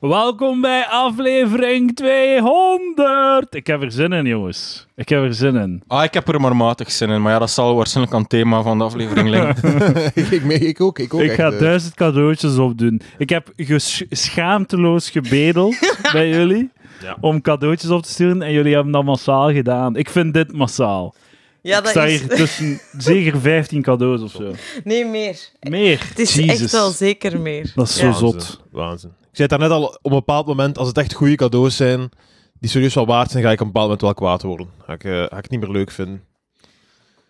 Welkom bij aflevering 200. Ik heb er zin in, jongens. Ik heb er zin in. Ah, ik heb er maar matig zin in, maar ja, dat zal waarschijnlijk aan het thema van de aflevering liggen. ik, ik, mee- ik ook, ik ook ik echt, ga eh. duizend cadeautjes opdoen. Ik heb gesch- schaamteloos gebedeld bij jullie Ja. om cadeautjes op te sturen en jullie hebben dat massaal gedaan. Ik vind dit massaal. Ja, ik dat sta is hier tussen zeker 15 cadeaus of zo. nee meer. Meer. Het is Jezus. echt wel zeker meer. Dat is zo Ja. zot. Waanzin. Ik zei het daarnet al, op een bepaald moment, als het echt goede cadeaus zijn, die serieus wel waard zijn, ga ik op een bepaald moment wel kwaad worden. Ga ik, eh, ga ik niet meer leuk vinden.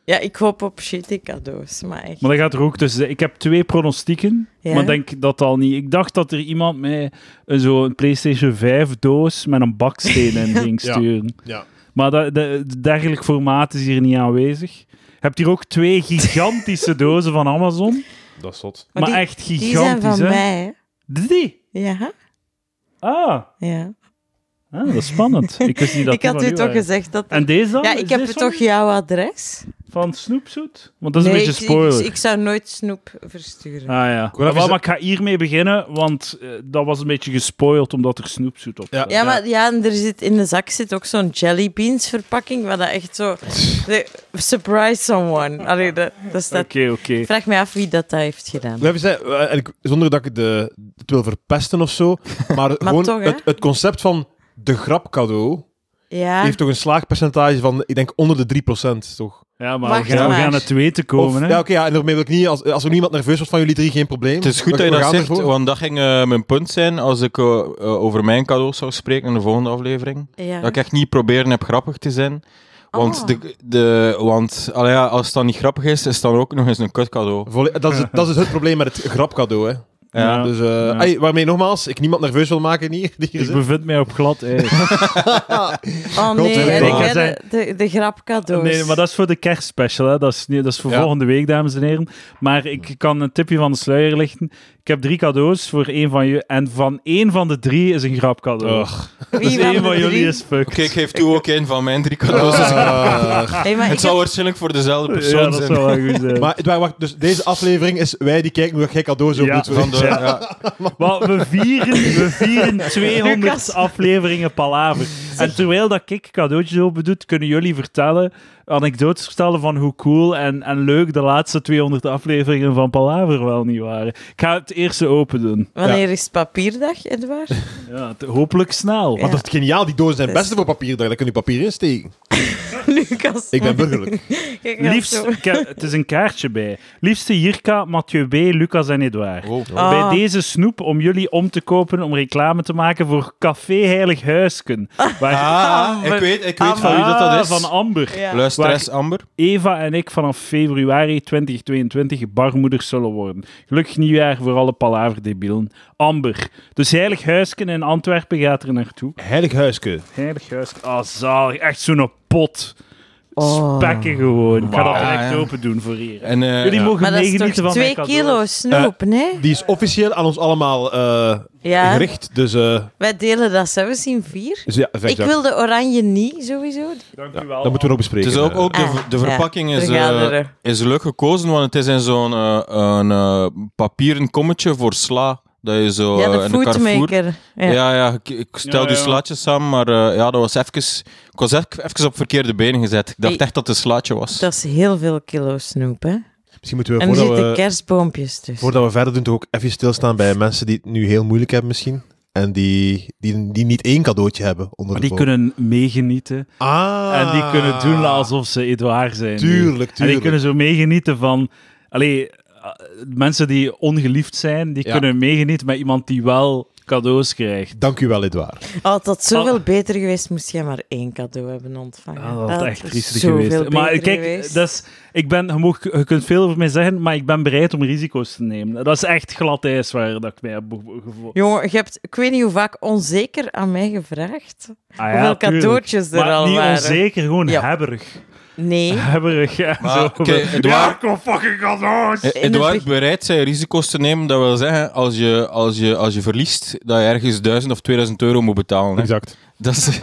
Ja, ik hoop op shitty cadeaus, maar echt. Maar dat gaat er ook tussen. zijn. Ik heb twee pronostieken, Ja. maar denk dat al niet. Ik dacht dat er iemand mij een- zo'n PlayStation 5 doos met een baksteen in ging Ja. sturen. Ja. Maar dat, dat- dergelijk formaat is hier niet aanwezig. Je hebt hier ook twee gigantische dozen van Amazon. Dat is zot. Maar, Maar die- echt gigantisch, Die zijn van hè? mij, hè. Die? Ja, Ah, ja. ah, dat is spannend. Ik wist niet dat ik die had van u toch waren. gezegd dat... En deze dan? ja, Is ik heb deze van toch u? jouw adres? Van Snoepzoet? Want dat is Nee, een beetje ik- spoiler. Ik, ik zou nooit snoep versturen. Ah ja. wil Maar, even- maar ik ga hiermee beginnen, want eh, dat was een beetje gespoild omdat er snoepzoet op Ja. zat. Ja, maar ja, en er zit, in de zak zit ook zo'n jelly beans verpakking, waar dat echt zo... De- surprise someone. Allee, dat, dat staat... Oké, oké. Ik vraag me af wie dat, dat heeft gedaan. Even zei, eh, en ik- zonder dat ik de, het wil verpesten of zo, maar, gewoon toch, hè? het, het concept van de grap cadeau Ja, heeft toch een slaagpercentage van, ik denk, onder de 3%, toch? Ja, maar Wacht we gaan, we maar. gaan het weten Of- komen, ja, hè. oké, ja, en daarmee wil ik niet, als, als er niemand nerveus wordt van jullie drie, geen probleem. het is goed We- dat je we dat gaan zegt, ervoor. want dat ging eh, mijn punt zijn als ik eh, eh, over mijn cadeaus zou spreken in de volgende aflevering. ja. Dat ik echt niet proberen heb grappig te zijn. Want, Ah. de, de, want allee, ja, als het dan niet grappig is, is het dan ook nog eens een kut cadeau. Volle- Dat is, het- dat is het probleem met het grapcadeau, hè. Ja. Dus, eh, Ja. ai, waarmee nogmaals, ik niemand nerveus wil maken hier. die hier Ik zit. bevind mij op glad ijs. Oh nee, Godverdomme. en Nee, ik ik ga heb de, zeggen- de, de grapcadeaus. Nee, maar dat is voor de kerstspecial, hè. Dat is, niet- dat is voor Ja. volgende week, dames en heren. Maar ik kan een tipje van de sluier lichten. Ik heb drie cadeaus voor één van je. En van één van de drie is een grapcadeau. Ugh. dus Wie van één de van jullie drie? is fucked. Oké, ik geef toe ook een van mijn drie cadeaus. is- dus- Ah. Nee, maar het ik zou heb- waarschijnlijk voor dezelfde persoon Ja, dat zijn. zou wel goed zijn. maar Edouard, wacht, dus deze aflevering is wij die kijken hoe jij cadeaus Ja. opdoet. Van de, Ja. ja. Maar we vieren, we vieren 200 Lucas. afleveringen Palaver. En terwijl dat ik cadeautjes open doet, kunnen jullie vertellen, anekdotes vertellen van hoe cool en, en leuk de laatste 200 afleveringen van Palaver wel niet waren. Ik ga het eerste open doen. Wanneer is papierdag, Edouard? Ja, t- hopelijk snel. Want dat is geniaal, die dozen zijn Dus- beste voor papier, daar daar kun je papier in steken. Lucas. Ik ben burgerlijk. Kijk, dat Liefst, zo- ik heb- het is een kaartje bij. Liefste Jirka, Mathieu B., Lucas en Edouard. Ah. Bij deze snoep om jullie om te kopen om reclame te maken voor Café Heilig Huisken. Waar Ah, ik weet, ik weet van wie dat, dat is. Ah, van Amber. Ja. Luisteres Amber. Eva en ik vanaf februari 2022 barmoeders zullen worden. Gelukkig nieuwjaar voor alle palaverdebielen. Amber. Dus Heilig Huisken in Antwerpen gaat er naartoe. Heilig Huiske. Heilig Huisken. Ah, zalig. Echt zo'n pot. Oh. Spekken gewoon. Ik ga dat Wauw. direct Ja, ja. open doen voor hier. En, eh, Jullie ja. mogen Maar dat is meegenieten toch van twee mijn Eh, kilo cadeaus. snoep, nee? Die is officieel aan ons allemaal eh, Ja, gericht, dus... eh, wij delen dat zelfs in vier. dus ja, Ik wil de oranje niet, sowieso. Dank u Ja, wel. dat moeten we nog bespreken. Het is ook, ook de, Ah, ver- de ja. verpakking is, eh Vergaderen. is leuk gekozen, want het is in zo'n eh, een, eh, papieren kommetje voor sla. Dat je zo Ja, eh, de in de Carrefour... foodmaker. Ja. Ja, ja, ik, ik stel Ja, die ja. slaatjes samen, maar eh, ja, dat was even, ik was echt even op verkeerde benen gezet. Ik dacht Ik- echt dat het een slaatje was. Dat is heel veel kilo snoep, hè. Misschien moeten we, En er voordat zitten we, kerstboompjes tussen. voordat we verder doen, toch ook even stilstaan bij mensen die het nu heel moeilijk hebben misschien. En die, die, die niet één cadeautje hebben onder Maar de die boom. kunnen meegenieten. Ah. En die kunnen doen alsof ze Edouard zijn. nu. Tuurlijk, En die tuurlijk. kunnen zo meegenieten van... Allee, eh, mensen die ongeliefd zijn, die Ja. kunnen meegenieten met iemand die wel cadeaus krijgt. Dank u wel, Edouard. Oh, het Ah. had zoveel beter geweest, moest jij maar één cadeau hebben ontvangen. Ah, dat is echt was triestig zoveel geweest. Maar beter kijk, geweest. dat is, ik ben, je, mag- je kunt veel over mij zeggen, maar ik ben bereid om risico's te nemen. Dat is echt glad ijs waar dat ik mij heb gevoeld. Jongen, je hebt, ik weet niet hoe vaak, onzeker aan mij gevraagd. hoeveel cadeautjes er Ah, maar al niet waren. onzeker, gewoon Ja. hebberig. Nee. Ah, Hebberig, ja. Maar, zo. oké, Edouard- Ja, kom fucking cadeaus! Eh, in de Eduard, veg- bereid zijn risico's te nemen, dat wil zeggen, als je, als je, als je verliest, dat je ergens 1000 of 2000 euro moet betalen. hè. Exact. Dat is,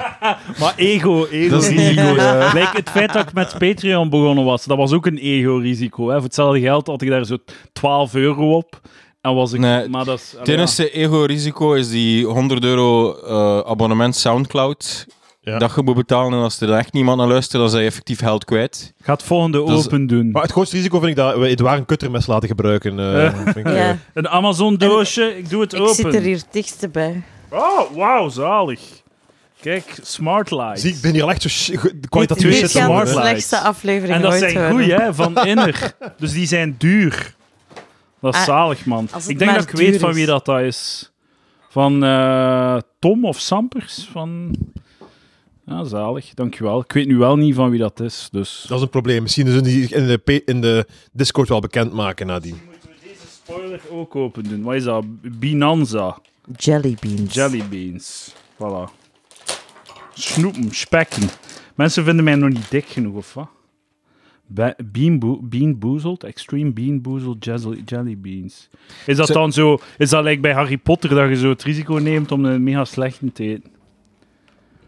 Maar ego, ego Dat is risico's. ego, ja. Like het feit dat ik met Patreon begonnen was, dat was ook een ego-risico. Hè. Voor hetzelfde geld had ik daar zo 12 euro op. En was ik... Nee, maar dat is... allee, Het enige ego-risico is die 100 euro eh, abonnement Soundcloud. Ja. Dat je moet betalen en als er dan echt niemand naar luistert, dan zijn je effectief geld kwijt. ja. Ga het volgende Dat is- open doen. Maar het grootste risico vind ik dat we Edouard een kuttermes laten gebruiken. eh, Eh. vind ik, eh, Ja, Een Amazon-doosje, ik doe het ik open. zit er hier het dichtst bij. Oh, wauw, zalig. Kijk, smart lights. Zie, ik ben hier al echt zo sh- go- de Dit, kwalitatief twee dit shit zitten aan gaat het de smart doen, hè. lights. slechtste aflevering en dat ooit zijn worden. goeie, hè, van Inner. Dus die zijn duur. Dat is Ah, zalig, man. als het Ik denk maar dat ik weet duur van is. wie dat dat is. Van eh, Tom of Sampers? Van... Ja, zalig. Dankjewel. Ik weet nu wel niet van wie dat is, dus... Dat is een probleem. Misschien zullen die in de, pe- in de Discord wel bekendmaken nadien. Moeten we deze spoiler ook open doen? Wat is dat? Binanza. Jellybeans. Jellybeans. Voilà. Snoepen, spekken. Mensen vinden mij nog niet dik genoeg, of wat? Be- Bean, Bo- Bean Boozled? Extreme Bean Boozled Jelly, Jellybeans. Is dat Ze- dan zo... Is dat like bij Harry Potter dat je zo het risico neemt om een mega slechte te eten?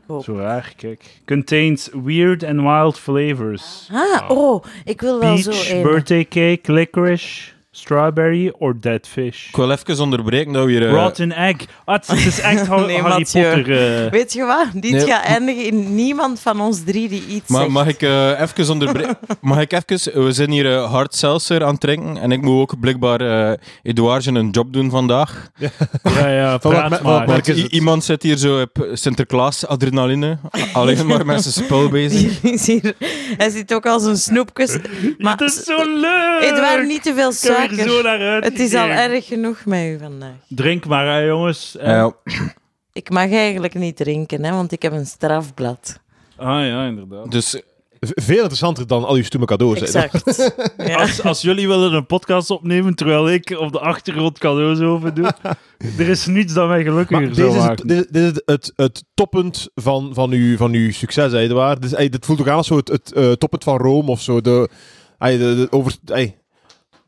Oh. Zo raar, kijk. Contains weird and wild flavors. Ah, oh, ik wil wel Peach, zo een. birthday cake, licorice, strawberry or dead fish. Ik wil even onderbreken dat we hier... eh, Rotten egg. Ah, het is- het is echt Har- Nee, Harry Mathieu. Potter... eh. Weet je wat? Dit Nee. gaat eindigen in niemand van ons drie die iets maar zegt. mag ik eh, even onderbreken? mag ik even... We zijn hier eh, hard seltzer aan het drinken en ik moet ook blijkbaar eh Edouard zijn een job doen vandaag. Ja, ja, Van praat wat- maar. wat- wat- Want is i- het? iemand zit hier zo op Sinterklaas adrenaline, alleen maar met zijn spul bezig. Die is hier- Hij zit ook als een snoepkus. Maar het is zo leuk! Edouard, niet te veel Ik heb er zo suiker. naar uit Het is al gekeken. erg genoeg met u vandaag. Drink maar, hè, jongens. Eh, Ja. Ik mag eigenlijk niet drinken, hè, want ik heb een strafblad. Ah ja, inderdaad. dus V- Veel interessanter dan al uw stoeme cadeaus. hè. Exact. Ja. Als, als jullie willen een podcast opnemen terwijl ik op de achtergrond cadeaus open doe, er is niets dat mij Maar gelukkiger dit zou is, het, maken. dit, is- dit is het, het toppunt van, van, uw, van uw succes, hè, Edouard. Dit, is- ey, dit voelt ook aan als zo het, het eh, toppunt van Rome of zo. De, ey, de, de, over, ey,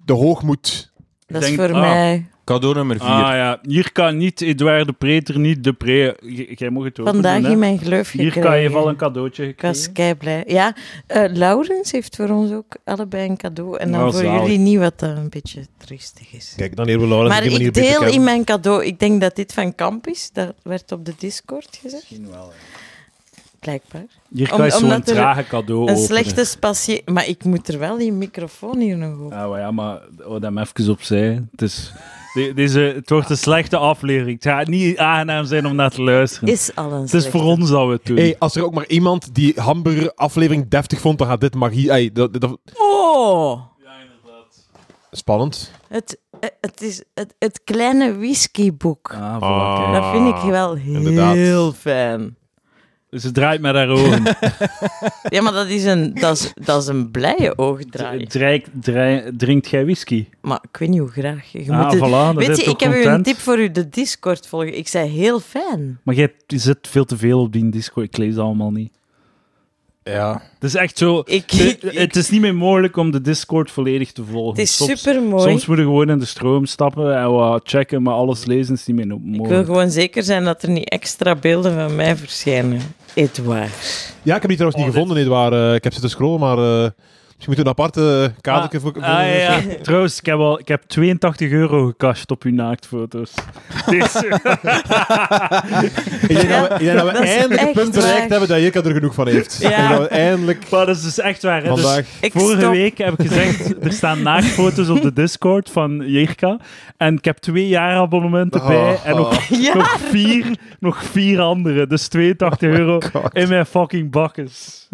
de hoogmoed. Dat is denk- voor ah. mij. cadeau nummer vier. Ah ja, hier kan niet Edouard de Preter, niet de Pre... J- Jij mag het ook Vandaag in doen, hè. mijn geloof gekregen. Hier kan je wel een cadeautje Ik was krijgen. kei blij. Ja, eh, Laurens heeft voor ons ook allebei een cadeau. En dan Nou, voor zalig. jullie niet, wat dan een beetje triestig is. Kijk, dan hebben we Laurens maar op die manier ik beter deel in kennen. mijn cadeau. Ik denk dat dit van Kamp is. Dat werd op de Discord gezegd. Blijkbaar. Hier Om- kan je zo'n omdat er trage cadeau Een openen. slechte spatie. Maar ik moet er wel die microfoon hier nog op. Ah, maar ja, maar oh, dat even opzij. Het, is, de- deze, het wordt een slechte aflevering. Het gaat niet aangenaam zijn om naar te luisteren. Is al een het is voor ons dat we het doen. Ey, als er ook maar iemand die hamburger aflevering deftig vond, dan gaat dit magie. ey, dat, dat, Oh! spannend. Het, eh, het is het, het kleine whiskyboek. Ah, voilà, Ah. kijk. Dat vind ik wel heel inderdaad. fijn. Ze Dus draait met haar ogen. Ja, maar dat is een, dat is, dat is een blije oogdraai. D- drijk- drij- drinkt jij whisky? Maar ik weet niet hoe graag. Je ah, moet voilà, het- dan Weet zit je, toch ik heb u een content. tip voor u, de Discord volgen. Ik zei heel fijn. Maar jij zit veel te veel op die disco. Ik lees dat allemaal niet. Ja. Het is echt zo... Ik, Het, ik- het is niet meer mogelijk om de Discord volledig te volgen. het is soms, super mooi. Soms moet je gewoon in de stroom stappen en wat checken, maar alles lezen is niet meer Ik wil mogelijk. gewoon zeker zijn dat er niet extra beelden van mij verschijnen. Edouard. Ja, ik heb die trouwens Oh, niet dit- gevonden, Edouard. Eh, ik heb zitten scrollen, maar eh, misschien moeten we een aparte kaartje voor... Ah, ah, ja. Trouwens, ik heb, al, ik heb 82 euro gecashed op uw Dus- naaktfoto's. Deze- Ik denk dat we, ik denk dat we Dat is eindelijk het echt punt waar. bereikt hebben dat Jirka er genoeg van heeft. Ja. Ik denk dat we eindelijk maar dat is dus echt waar. hè. Dus- vandaag... Ik Vorige stop. week heb ik gezegd, er staan naaktfoto's op de Discord van Jirka. En ik heb twee jaarabonnementen Oh. bij en nog, Ja, nog, vier, nog vier andere. Dus Oh 82 euro in mijn fucking bakkes.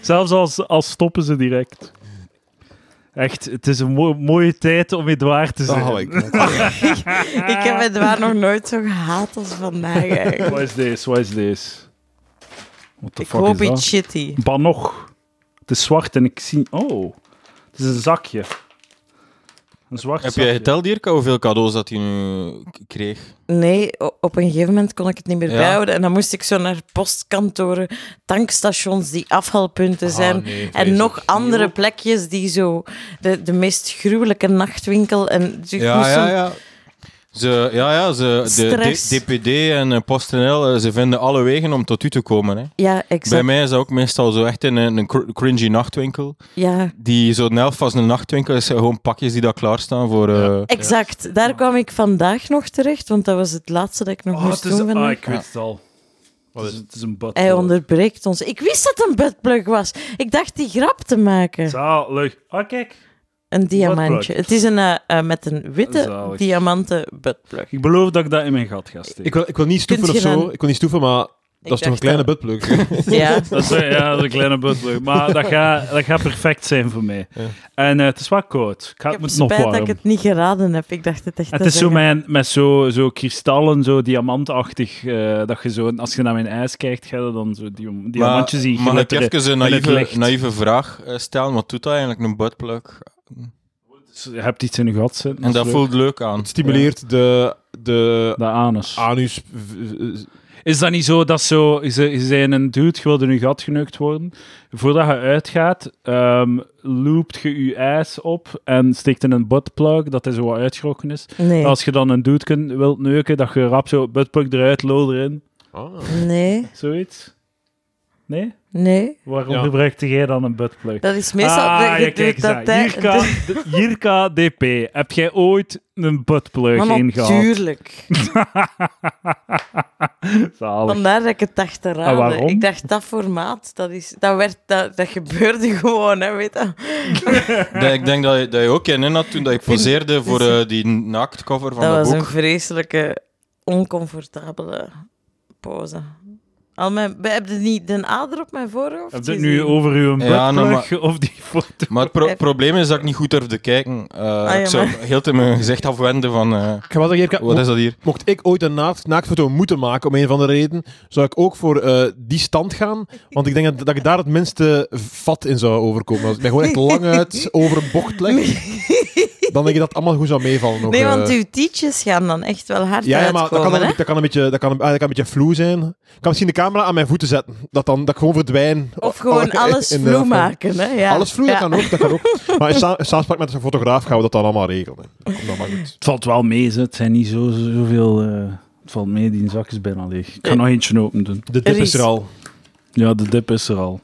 Zelfs als, als stoppen ze direct. Echt, het is een mo- mooie tijd om Edouard Dus, te eh, zijn. Oh, ik- ik heb Edouard nog nooit zo gehaat als vandaag. eigenlijk. Wat is deze? Wat is deze? What the Ik fuck hoop is dat? iets shitty. Ban nog. Het is zwart en ik zie... Oh, het is een zakje. Een zwart Heb zakje. jij geteld, Dirk, hoeveel cadeaus dat hij nu k- kreeg? Nee, o- op een gegeven moment kon ik het niet meer Ja. bijhouden. En dan moest ik zo naar postkantoren, tankstations die Ah, afhaalpunten zijn. en nog andere plekjes die zo... De, de meest gruwelijke nachtwinkel. En dus ik moest Ja, dan- ja, ja. Ze, ja, ja, ze, de Stress. D- DPD en eh, PostNL, eh, ze vinden alle wegen om tot u te komen. Hè. Ja, Bij exact. mij is dat ook meestal zo echt in een, een cr- cringy nachtwinkel. Ja, Die zo'n elf als een nachtwinkel is gewoon pakjes die daar klaarstaan voor... eh, exact. Daar kwam ik vandaag nog terecht, want dat was het laatste dat ik nog Oh, moest het is, doen. ah, vandaag. ik weet het al. Het is, het is een bad. Hij onderbreekt ons. Ik wist dat het een buttplug was. Ik dacht die grap te maken. Zalig. Ah, kijk. Een diamantje. Het is een eh, eh, met een witte Zalig. diamanten buttplug. Ik beloof dat ik dat in mijn gat ga steken. Ik wil, ik wil niet stoeven Kunt of je zo. dan- Ik wil niet stoeven, maar dat is toch een dacht eh, kleine dat- buttplug. Ja, Dat is, eh, ja, dat is een kleine buttplug. Maar dat gaat dat gaat perfect zijn voor mij. En eh, het is wat koud. Ik ga ik het heb moet nog spijt dat ik warm. het niet geraden heb. Ik dacht het echt Het te is zo zeggen. mijn, met zo, zo kristallen, zo diamantachtig, eh, dat je zo, als je naar mijn ijs kijkt, ga je dan zo die, maar diamantjes zien Mag ik glitteren. even een in het naïeve, licht. naïeve vraag eh, stellen? Wat doet dat eigenlijk, een buttplug? Dus Je hebt iets in je gat zitten. En dat is leuk. voelt leuk aan. Het stimuleert de, de De Ah. anus. anus... v- v- Is dat niet zo dat zo, is, is hij een dude, je wilde in je gat geneukt worden, voordat je uitgaat, ehm loopt je je ijs op en steekt in een buttplug, dat hij zo wat uitgerokken is. Nee, Als je dan een dude kun- wilt neuken, dat je rap zo buttplug eruit, lul erin, nee, zoiets. Nee? nee. Waarom Ja. gebruikte jij dan een buttplug? Dat is meestal... dat je Ah, ja, doet dat eens aan. hij- Jirka, d- Jirka DP, heb jij ooit een buttplug Maar ingehaald? natuurlijk. Zalig. Vandaar dat ik het dacht te raden. En Ah, waarom? Ik dacht, dat formaat, dat, is, dat, werd, dat, dat gebeurde gewoon, hè, weet je. Dat, ik denk dat je, dat je ook in had toen dat je poseerde voor eh, die naaktcover van Dat dat was een boek. vreselijke, oncomfortabele pose. Al mijn, heb je niet de ader op mijn voorhoofd Heb je het gezien? nu over uw Ja, nou, buttplug of die foto? Maar het pro- probleem is dat ik niet goed durfde kijken. Eh, Ah, ja, ik zou heel te mijn gezicht afwenden van... eh, Ik ga wel zeggen, Jirka, wat is dat hier? mocht ik ooit een naakt, naaktfoto moeten maken, om een van de reden, zou ik ook voor eh, die stand gaan. Want ik denk dat, dat ik daar het minste vat in zou overkomen. Als ik mij gewoon echt lang uit over een bocht leg, dan denk ik dat het allemaal goed zou meevallen. Ook, Nee, eh. want uw tietjes gaan dan echt wel hard ja, ja, maar dat uitkomen, kan, hè? een, dat, kan een beetje, dat, kan, ah, dat kan een beetje vloe zijn. Ik kan misschien de camera aan mijn voeten zetten. Dat, dan, dat ik gewoon verdwijn. Of gewoon in- alles oh, in de- vloe maken, hè? Ja. Alles vloe, Ja. dat kan ook. Dat kan ook. Maar in, sa- in samenspraak met een fotograaf gaan we dat dan allemaal regelen. Dat komt dan maar goed. Het valt wel mee, ze. het zijn niet zo, zoveel... eh, het valt mee, die zak is bijna leeg. Ik ga Eh. nog eentje open doen. De dip Er is is- er al. Ja, de dip is er al.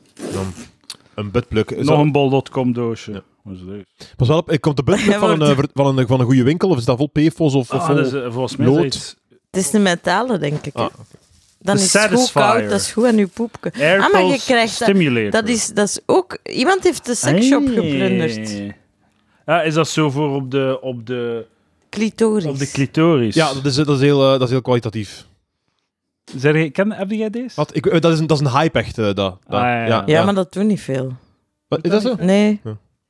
Een buttplug. Is Nog dat- een bol.com doosje. Wat is leuk. Pas wel op, eh, komt de buttplug van, een, eh, ver- van, een, van een goede winkel? Of is dat vol PFOS? Of, of Ah, vol... dat is, eh, volgens mij Lood. zoiets. Het is de metalen, denk ik. hè. Ah, De Dan is het goed Satisfier. koud, dat is goed aan uw poepje. Air Ah, maar je Pulse krijgt dat- Stimulator. Dat is, dat is ook... Iemand heeft de seksshop Hey. geplunderd. Ja, is dat zo voor op de, op de, Clitoris. op de clitoris? Ja, dat is, dat, is heel, eh, dat is heel kwalitatief. Zeg, jij- ken, heb jij deze? Wat? Ik, eh, dat, is een, dat is een hype echt, eh, dat. dat. Ah, ja, ja. ja, maar dat doet niet veel. Wat, is dat zo? Nee,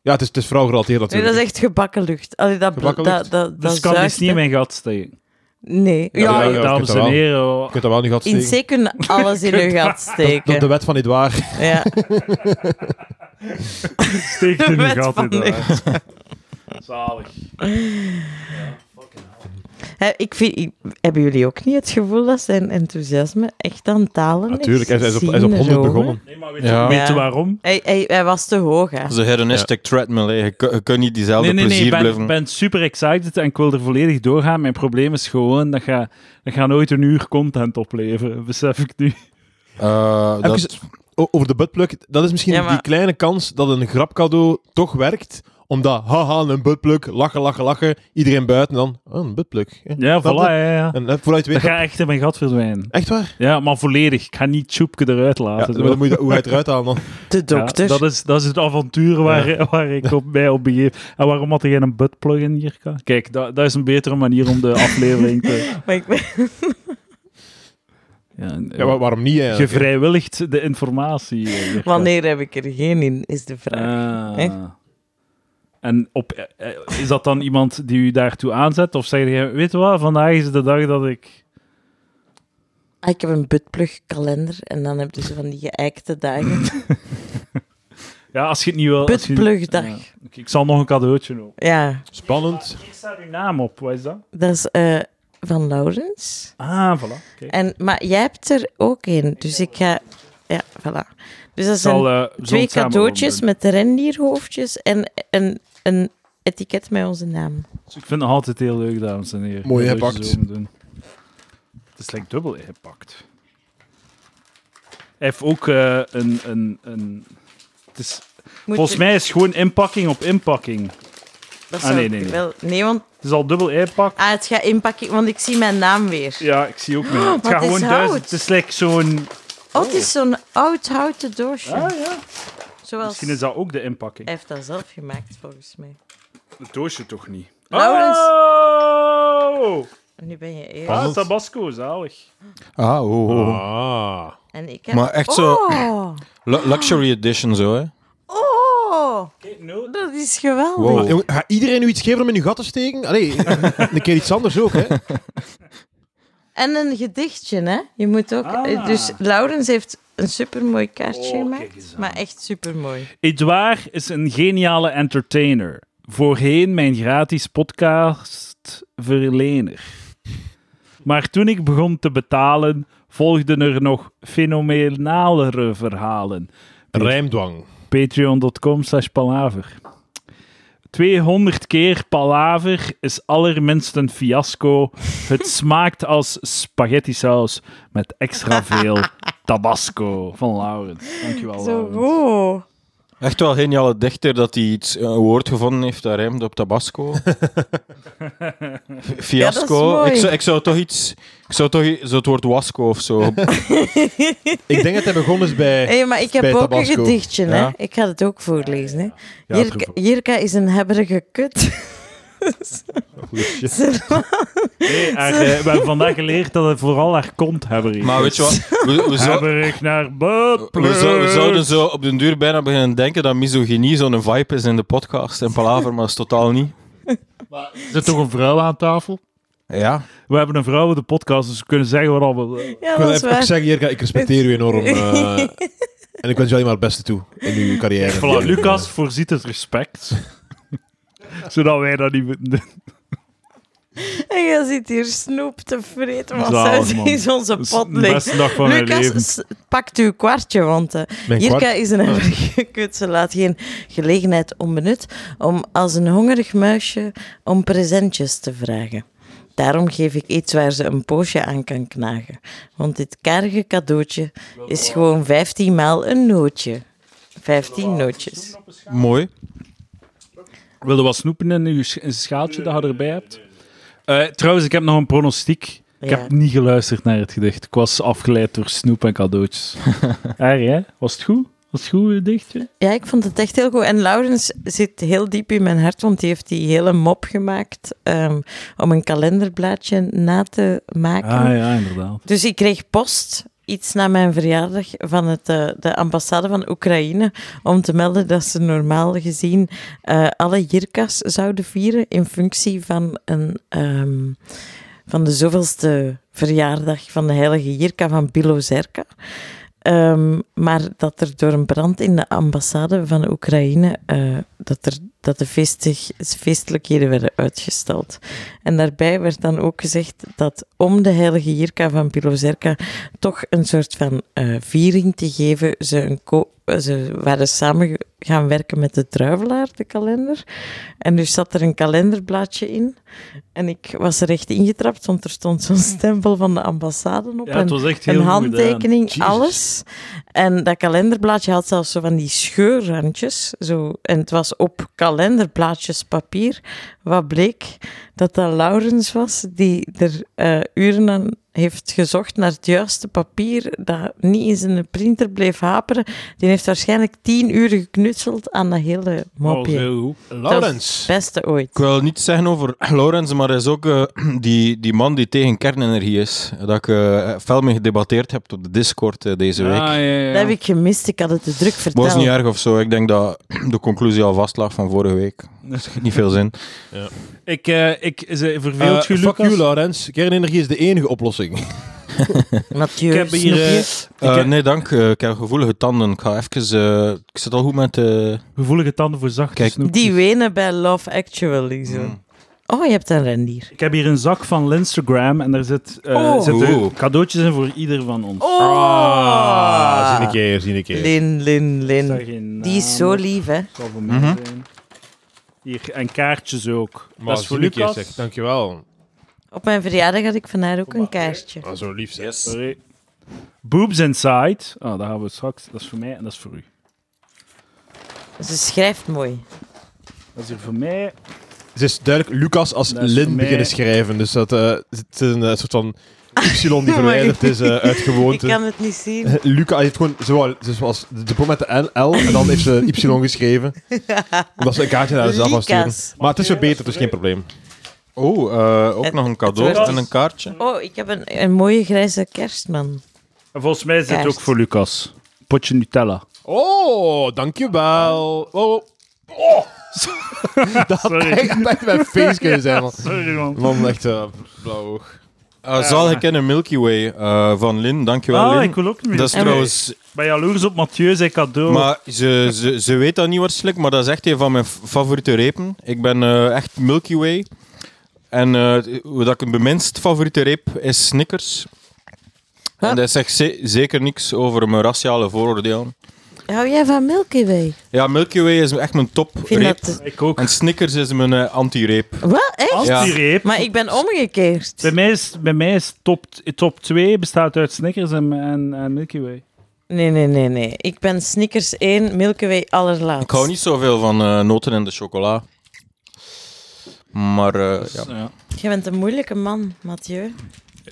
Ja, het is, het is vrouw gerelateerd nee natuurlijk. dat is echt gebakken lucht. Allee, dat, Gebakken lucht? dat, dat, Dus dat ik kan zuigt, dus niet in hè. mijn gat steken. Nee. Ja, Ja, ja, ja. Dames dat en wel. heren. Je kunt dat wel niet gat in steken. zee kunnen alles in uw gat Door steken. de wet van Edouard. Ja. Steek De in mijn wet gat. van inderdaad. Zalig. Hè, ik vind, ik- hebben jullie ook niet het gevoel dat zijn enthousiasme echt aan talen is? Natuurlijk, hij is op, hij is op Zien 100 zo, hè? begonnen. Nee, maar weet, Ja. weet je Ja. waarom? Hij, hij, hij was te hoog, hè? Dat is een hedonistic treadmill. hè. Je, kun- je kunt niet diezelfde Nee, nee, nee, plezier ik ben, blijven. ik ben super excited en ik wil er volledig doorgaan. Mijn probleem is gewoon dat ga, dat ga nooit een uur content opleveren, besef ik nu. Eh, dat- Even- O- Over de buttplug, dat is misschien Ja, maar- die kleine kans dat een grapcadeau toch werkt. Omdat, haha, een buttplug, lachen, lachen, lachen. Iedereen buiten dan, oh, een buttplug. hè. Ja, Snap voilà, je? ja, ja. En eh, vooruit Dat weet gaat echt in mijn gat verdwijnen. Echt waar? Ja, maar volledig. Ik ga niet Tjoepke eruit Ja, laten. dan moet je, hoe ga je het eruit halen dan? De Ja, dokter. dat, is, dat is het avontuur waar, waar ik op, mij op begeef. En waarom had jij een buttplug in, Jirka? Kijk, dat, dat is een betere manier om de aflevering te... Maar ik ben- Ja, Ja, wa- waarom niet eigenlijk? hè? gevrijwilligd de informatie. eh, Jirka. Wanneer heb ik er geen in, is de vraag. Ah. Hè? En op, eh, eh, is dat dan iemand die u daartoe aanzet? Of zeg je, weet je wat, vandaag is de dag dat ik... Ah, ik heb een buttplug kalender en dan heb je zo van die geëikte dagen. Ja, als je het niet wil... als je- Buttplugdag. Ja. Oké, Ik zal nog een cadeautje doen. Ja, Spannend. Hier staat uw naam op, wat is dat? dat is eh, van Laurens. Ah, voilà. Kijk. En, maar jij hebt er ook een, dus ik ga... Ja, voilà. Dus dat Ik zal, eh, zijn we zullen twee het samen cadeautjes doen. met rendierhoofdjes en een, een etiket met onze naam. Dus ik vind het altijd heel leuk, dames en heren. Mooi Dat je gepakt. zo moet doen. Het is like dubbel ingepakt. Hij heeft ook eh, een... een, een het is, Moet volgens je- mij is het gewoon inpakking op inpakking. Ah, Dat zou nee, ik nee, nee. Wel, nee, want Het is al dubbel ingepakt. ah, het gaat inpakken, want ik zie mijn naam weer. Ja, ik zie ook mee. het Oh, wat gaat is gewoon hout? duizend. Het is like zo'n... Oh, het is zo'n oud houten doosje. Ah, ja. Zoals Misschien is dat ook de inpakking. Hij heeft dat zelf gemaakt, volgens mij. Het doosje toch niet? Laurens. Oh! En nu ben je eerst. Ah, Tabasco, zalig. Ah, oh, oh. Ah. En ik heb... Maar echt oh. zo- Lu- luxury edition zo, hè. Oh, No. dat is geweldig. Wow. Maar, jongen, Ga iedereen nu iets geven om in uw gat te steken? Allee, een keer iets anders ook, hè? En een gedichtje, hè? Je moet ook. Ah. Dus Laurens heeft een supermooi kaartje Oh, kijk eens gemaakt. aan. Maar echt supermooi. Edouard is een geniale entertainer. Voorheen mijn gratis podcastverlener. Maar toen ik begon te betalen, volgden er nog fenomenalere verhalen. Rijmdwang. Patreon.com slash palaver. 200 keer palaver is allerminst een fiasco. Het smaakt als spaghetti saus met extra veel tabasco van Laurens. Dankjewel, Zo, Laurens. wow. oh. Echt wel geniale dichter dat hij iets, een woord gevonden heeft dat rijmt op tabasco. F- Ja, Fiasco. dat is mooi. ik, zou, ik zou toch iets... Ik zou toch i- zo het woord wasco of zo. Ik denk dat hij begonnen is bij... Hé, maar ik heb Bij ook Tabasco. een gedichtje, hè? Ja. Ik ga het ook voorlezen, hè? Ja, Jirka, Jirka is een hebberige kut. Nee, haar, eh, we hebben vandaag geleerd dat het vooral haar kont hebben. Maar weet je wat? We, we, zou- Hebberig naar bed. we, zou- we zouden zo op den duur bijna beginnen denken dat misogynie zo'n vibe is in de podcast. En palaver, maar dat is totaal niet. Er zit toch een vrouw aan tafel? Ja. We hebben een vrouw in de podcast, dus we kunnen zeggen wat allemaal. willen. Ja, Ik wil dat is even ook waar. zeggen, Jirka, ik respecteer u enorm. eh, en ik wens jullie maar het beste toe in uw carrière. Voilà, Lucas voorziet het respect. Zodat wij dat niet moeten doen. En jij zit hier snoep te vreten, want Zalig, zij man. is onze Dat is pot de ligt. beste dag van mijn leven. Ah. Lucas, s- pakt uw kwartje, want eh, Mijn Jirka kwart- is een hebberige kut. Ze laat geen gelegenheid onbenut om als een hongerig muisje om presentjes te vragen. Daarom geef ik iets waar ze een poosje aan kan knagen. Want dit karige cadeautje is gewoon 15 maal een nootje. 15 nootjes. Mooi. Wilde wat snoepen in uw sch- in een schaaltje dat je erbij hebt? Eh, trouwens, ik heb nog een pronostiek. Ik Ja. heb niet geluisterd naar het gedicht. Ik was afgeleid door snoep en cadeautjes. Arie, hè? was het goed? Was het goed, gedichtje? Ja, ik vond het echt heel goed. En Laurens zit heel diep in mijn hart, want die heeft die hele mop gemaakt ehm, om een kalenderblaadje na te maken. Ah ja, inderdaad. Dus ik kreeg post, iets na mijn verjaardag, van het, eh, de ambassade van Oekraïne om te melden dat ze normaal gezien eh, alle Jirkas zouden vieren in functie van, een, ehm, van de zoveelste verjaardag van de heilige Jirka van Bilozerka. Ehm, maar dat er door een brand in de ambassade van Oekraïne eh, dat, er, dat de feestig, feestelijkheden werden uitgesteld. En daarbij werd dan ook gezegd dat om de heilige Jirka van Pilozerka toch een soort van eh, viering te geven, ze, een ko- eh, ze waren samen gaan werken met de druivelaar, de kalender. En dus zat er een kalenderblaadje in. En ik was er echt ingetrapt, want er stond zo'n stempel van de ambassade op. Ja, en het was echt heel een goed handtekening, alles. En dat kalenderblaadje had zelfs zo van die scheurrandjes. Zo. En het was op kalenderblaadjes papier. Wat bleek dat dat Laurens was, die er eh, uren aan heeft gezocht naar het juiste papier, dat niet in zijn printer bleef haperen. Die heeft waarschijnlijk tien uur geknutseld aan dat hele gedaan. mopje. Oh, heel goed. Dat is het Laurens. beste ooit. Ik wil niets zeggen over Laurens, maar hij is ook eh, die, die man die tegen kernenergie is. Dat ik eh, fel mee gedebatteerd heb op de Discord eh, deze week. Ah, ja, ja. Dat heb ik gemist, ik had het te druk Het was verteld. niet erg of zo. Ik denk dat de conclusie al vast lag van vorige week. Dat schiet niet veel zin. Ik, eh, ik, ze Eh, verveelt je, fuck Lucas? you, Laurens. Kernenergie is de enige oplossing. Mathieu, Ik heb hier, snoepje. eh, Eh, heb- Nee, dank. eh, ik heb gevoelige tanden. Ik ga even... eh, ik zit al goed met... eh, gevoelige tanden voor zachte Kijk. snoep. Die wenen bij Love Actually. Zo. Oh, je hebt een rendier. Ik heb hier een zak van Instagram en daar zit, eh, Oh. zitten Oeh. cadeautjes in voor ieder van ons. Oh! Ah, zie een keer, zie een keer. Lin, Lin, Ik zeg Lin. geen Die is naam, zo lief, hè? het zal voor mij Mhm. zijn. Hier, en kaartjes ook. Maar dat is voor zie ik je, Lucas. zeg. Dankjewel. Op mijn verjaardag had ik van haar ook een kaartje. Ah, zo lief zeg. Sorry. Boobs Inside. Oh, daar hebben we straks. Dat is voor mij en dat is voor u. Ze schrijft mooi. Dat is hier voor mij. Ze is duidelijk Lucas als Dat is voor Lin mij- beginnen schrijven. Dus dat eh, het is een eh, soort van Y die Oh my verwijderd is eh, uit Ik gewoonte. kan het niet zien. Luca heeft gewoon zowel, zoals de pop met de L, L en dan heeft ze Y geschreven. Omdat ze een kaartje naar zichzelf was sturen. Lucas. Maar het is verbeterd, dus geen probleem. Oh, eh, ook Het- nog een het cadeau wordt- en een kaartje. Oh, ik heb een, een mooie grijze kerstman. En volgens mij is dit Kerst. ook voor Lucas. Potje Nutella. Oh, dankjewel. Oh, Sorry. ik had echt mijn face kunnen zijn. Man, Sorry, man. man echt eh, blauw oog. Eh, zal ik in een Milky Way eh, van Lin, dankjewel Ah, Lin. ik wil ook niet Dat is En- trouwens, Oh. bij jaloers op Mathieu zijn cadeau. maar ze, ze, ze weet dat niet waarschijnlijk, maar dat is echt een van mijn f- favoriete repen. Ik ben eh, echt Milky Way. En eh, hoe dat ik mijn minst favoriete reep is Snickers. Huh? En dat zegt ze- zeker niks over mijn raciale vooroordelen. Hou jij van Milky Way? Ja, Milky Way is echt mijn top Ik vind reep. dat... Ik ook. En Snickers is mijn eh, anti-reep. Wat? Echt? Als die reep. Maar ik ben omgekeerd. Bij mij is, bij mij is top, top 2 bestaat uit Snickers en, en, en Milky Way. Nee, nee, nee, nee. Ik ben Snickers 1, Milky Way allerlaatst. Ik hou niet zoveel van eh, noten in de chocola. Maar eh, ja. Ja. Jij bent een moeilijke man, Mathieu.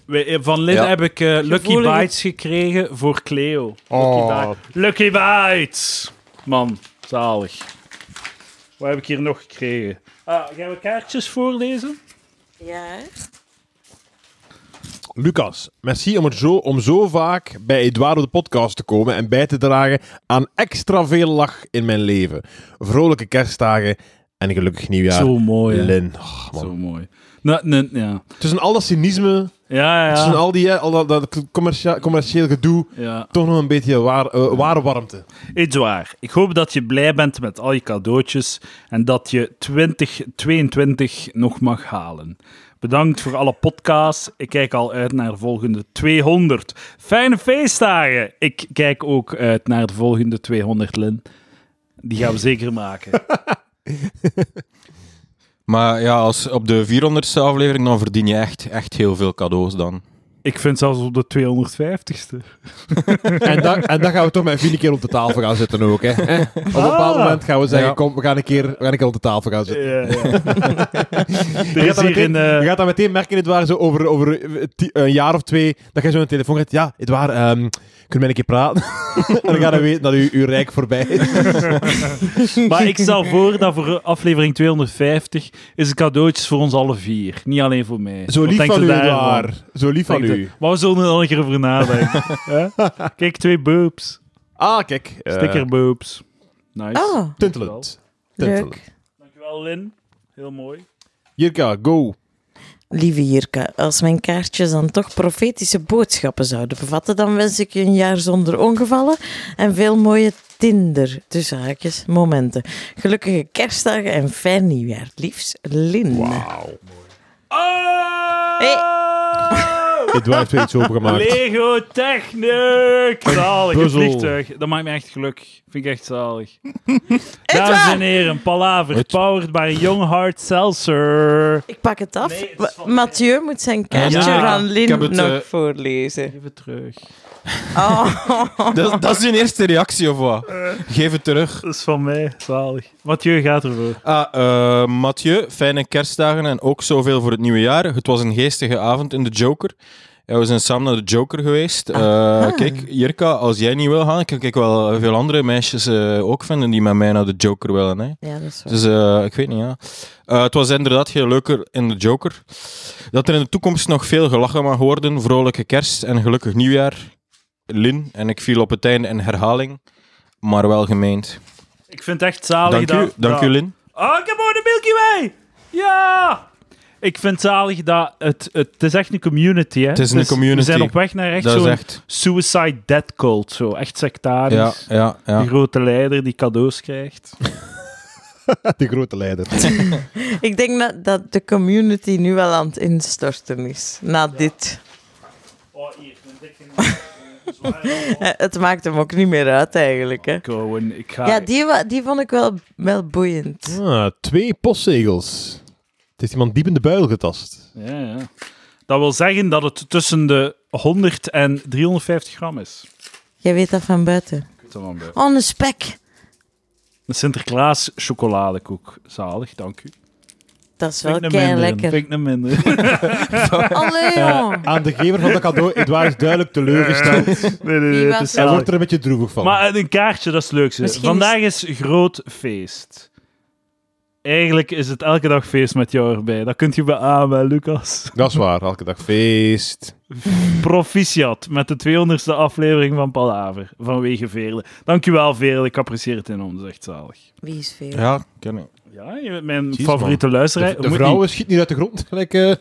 We- eh, Van Lid Ja. heb ik eh, Lucky Gevoelige- Bites gekregen voor Cleo. Oh. Lucky, Bi- Lucky Bites! Man, zalig. Wat heb ik hier nog gekregen? Ah, gaan we kaartjes voorlezen? Ja. Lucas, merci om, het zo, om zo vaak bij Eduardo de podcast te komen en bij te dragen aan extra veel lach in mijn leven. Vrolijke kerstdagen en een gelukkig nieuwjaar. Zo mooi. hè. Lin. Oh, man. Zo mooi. Nou, nee, ja. Tussen al dat cynisme, Ja, ja, tussen ja. al, die, hè, al dat, dat commercieel, commercieel gedoe, ja. toch nog een beetje waar, eh, ware warmte. Edouard, ik hoop dat je blij bent met al je cadeautjes en dat je 2022 nog mag halen. Bedankt voor alle podcasts. Ik kijk al uit naar de volgende 200. Fijne feestdagen! Ik kijk ook uit naar de volgende 200, Lin. Die gaan we zeker maken. Maar ja, als op de 400ste aflevering, dan verdien je echt, echt heel veel cadeaus dan. Ik vind zelfs op de 250ste. En dan, en dan gaan we toch met Vini een keer op de tafel gaan zitten ook. Hè. Eh, Op een bepaald Ah. moment gaan we zeggen, Ja. kom, we gaan, een keer, we gaan een keer op de tafel gaan zitten. Er Je is gaat, dat hier meteen, een... eh, je gaat dat meteen merken, Edouard, zo over, over eh, ti- een jaar of twee, dat jij zo een telefoon gaat. Ja, Edouard, ehm kunnen wij een keer praten? en dan gaan we weten dat u, uw rijk voorbij is. Maar ik stel voor dat voor aflevering 250 is een cadeautjes voor ons alle vier. Niet alleen voor mij. Zo Wat lief denkt van u, daarvan? Edouard. Zo lief van Denkt u. u- Maar we zullen er al een keer over nadenken. Hè? Kijk, twee boobs. Ah, kijk. eh, Sticker boobs. Nice. Oh, Tuntelend. Tuntelend. leuk. Dankjewel, Lin. Heel mooi. Jirka, go. Lieve Jirka, als mijn kaartjes dan toch profetische boodschappen zouden bevatten, dan wens ik je een jaar zonder ongevallen en veel mooie Tinder, tussen haakjes, momenten. Gelukkige kerstdagen en fijn nieuwjaar. Liefst, Lin. Oh! Edouard heeft iets opengemaakt. Lego Technic! Zalig, het puzzel. vliegtuig. Dat maakt me echt gelukkig. Vind ik echt zalig. Dames en heren, Palaver, powered by Young Heart Seltzer. Ik pak het af. Nee, het is van Ma- Mathieu moet zijn kaartje Ja, aan ik Lin heb het, nog eh, voorlezen. Even terug. Oh. Dat, dat is hun eerste reactie, of wat? Geef het terug. Dat is van mij, zalig. Mathieu gaat ervoor. Ah, eh, Mathieu, fijne kerstdagen en ook zoveel voor het nieuwe jaar. Het was een geestige avond in de Joker. Ja, we zijn samen naar de Joker geweest. Eh, kijk, Jirka, als jij niet wil gaan, kan ik wel veel andere meisjes eh, ook vinden die met mij naar de Joker willen. Hè? Ja, dat is waar. Dus eh, ik weet niet, ja. Eh, het was inderdaad heel leuker in de Joker. Dat er in de toekomst nog veel gelachen mag worden. Vrolijke kerst en gelukkig nieuwjaar. Lin, en ik viel op het einde in herhaling. Maar wel gemeend. Ik vind het echt zalig Dank dat... u, dank dat- u Lin. Oh, ik heb gewoon de Milky Way! Ja! Ik vind het zalig dat... Het, het, het is echt een community, hè. Het is een We community. zijn op weg naar echt Dat is zo'n echt... suicide death cult. Zo, echt sectarisch. Ja, ja, ja. Die grote leider die cadeaus krijgt. De grote leider. Dus- Ik denk dat, dat de community nu wel aan het instorten is. Na dit. Oh, hier, een dikke. een zware- Eh, Het maakt hem ook niet meer uit eigenlijk. Hè. Cohen, ik ga. Ja, die, wa- die vond ik wel, wel boeiend. Ah, twee postzegels. Het is iemand diep in de buil getast. Ja, ja. Dat wil zeggen dat het tussen de 100 en 350 gram is. Jij weet dat van buiten. Ik weet er wel bij. Oh, een spek. Een Sinterklaas chocoladekoek. Zalig, dank u. Dat is wel Vind ik een kei minder. lekker. Vind ik een minder. Allee, jong. Aan de gever van dat cadeau, Edouard is duidelijk teleurgesteld. nee, nee, Wie nee, was het is Hij zalig. wordt er een beetje droevig van. Eh, Maar eh, een kaartje, dat is het leukste. Misschien Vandaag is groot feest. Eigenlijk is het elke dag feest met jou erbij. Dat kunt je beamen, Lucas. Dat is waar, elke dag feest. Proficiat met de 200ste aflevering van Palaver vanwege Veerle. Dankjewel, Veerle. Ik apprecieer het enorm, echt zalig. Wie is veel? Ja, ken ik. Ja, je bent mijn Jeez, favoriete luisteraar. De, de Moet vrouwen schiet niet uit de grond. Gelijk, eh, niet-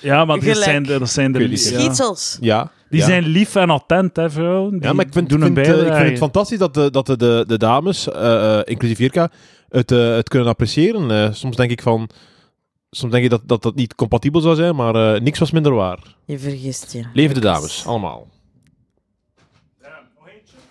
Ja, maar die Gelijk. zijn de, dat zijn de Jullie lief. ja. Schietsels. ja. Die ja. zijn lief en attent, hè, vrouwen. Die Ja, maar ik vind, doen ik vind, een eh, ik bijdrage. vind het fantastisch dat de, dat de, de, de dames, eh, eh, inclusief Jirka, het, eh, het kunnen appreciëren. Eh, soms denk ik van... Soms denk ik dat dat, dat niet compatibel zou zijn, maar eh, niks was minder waar. Je vergist je. Leven de dames, allemaal.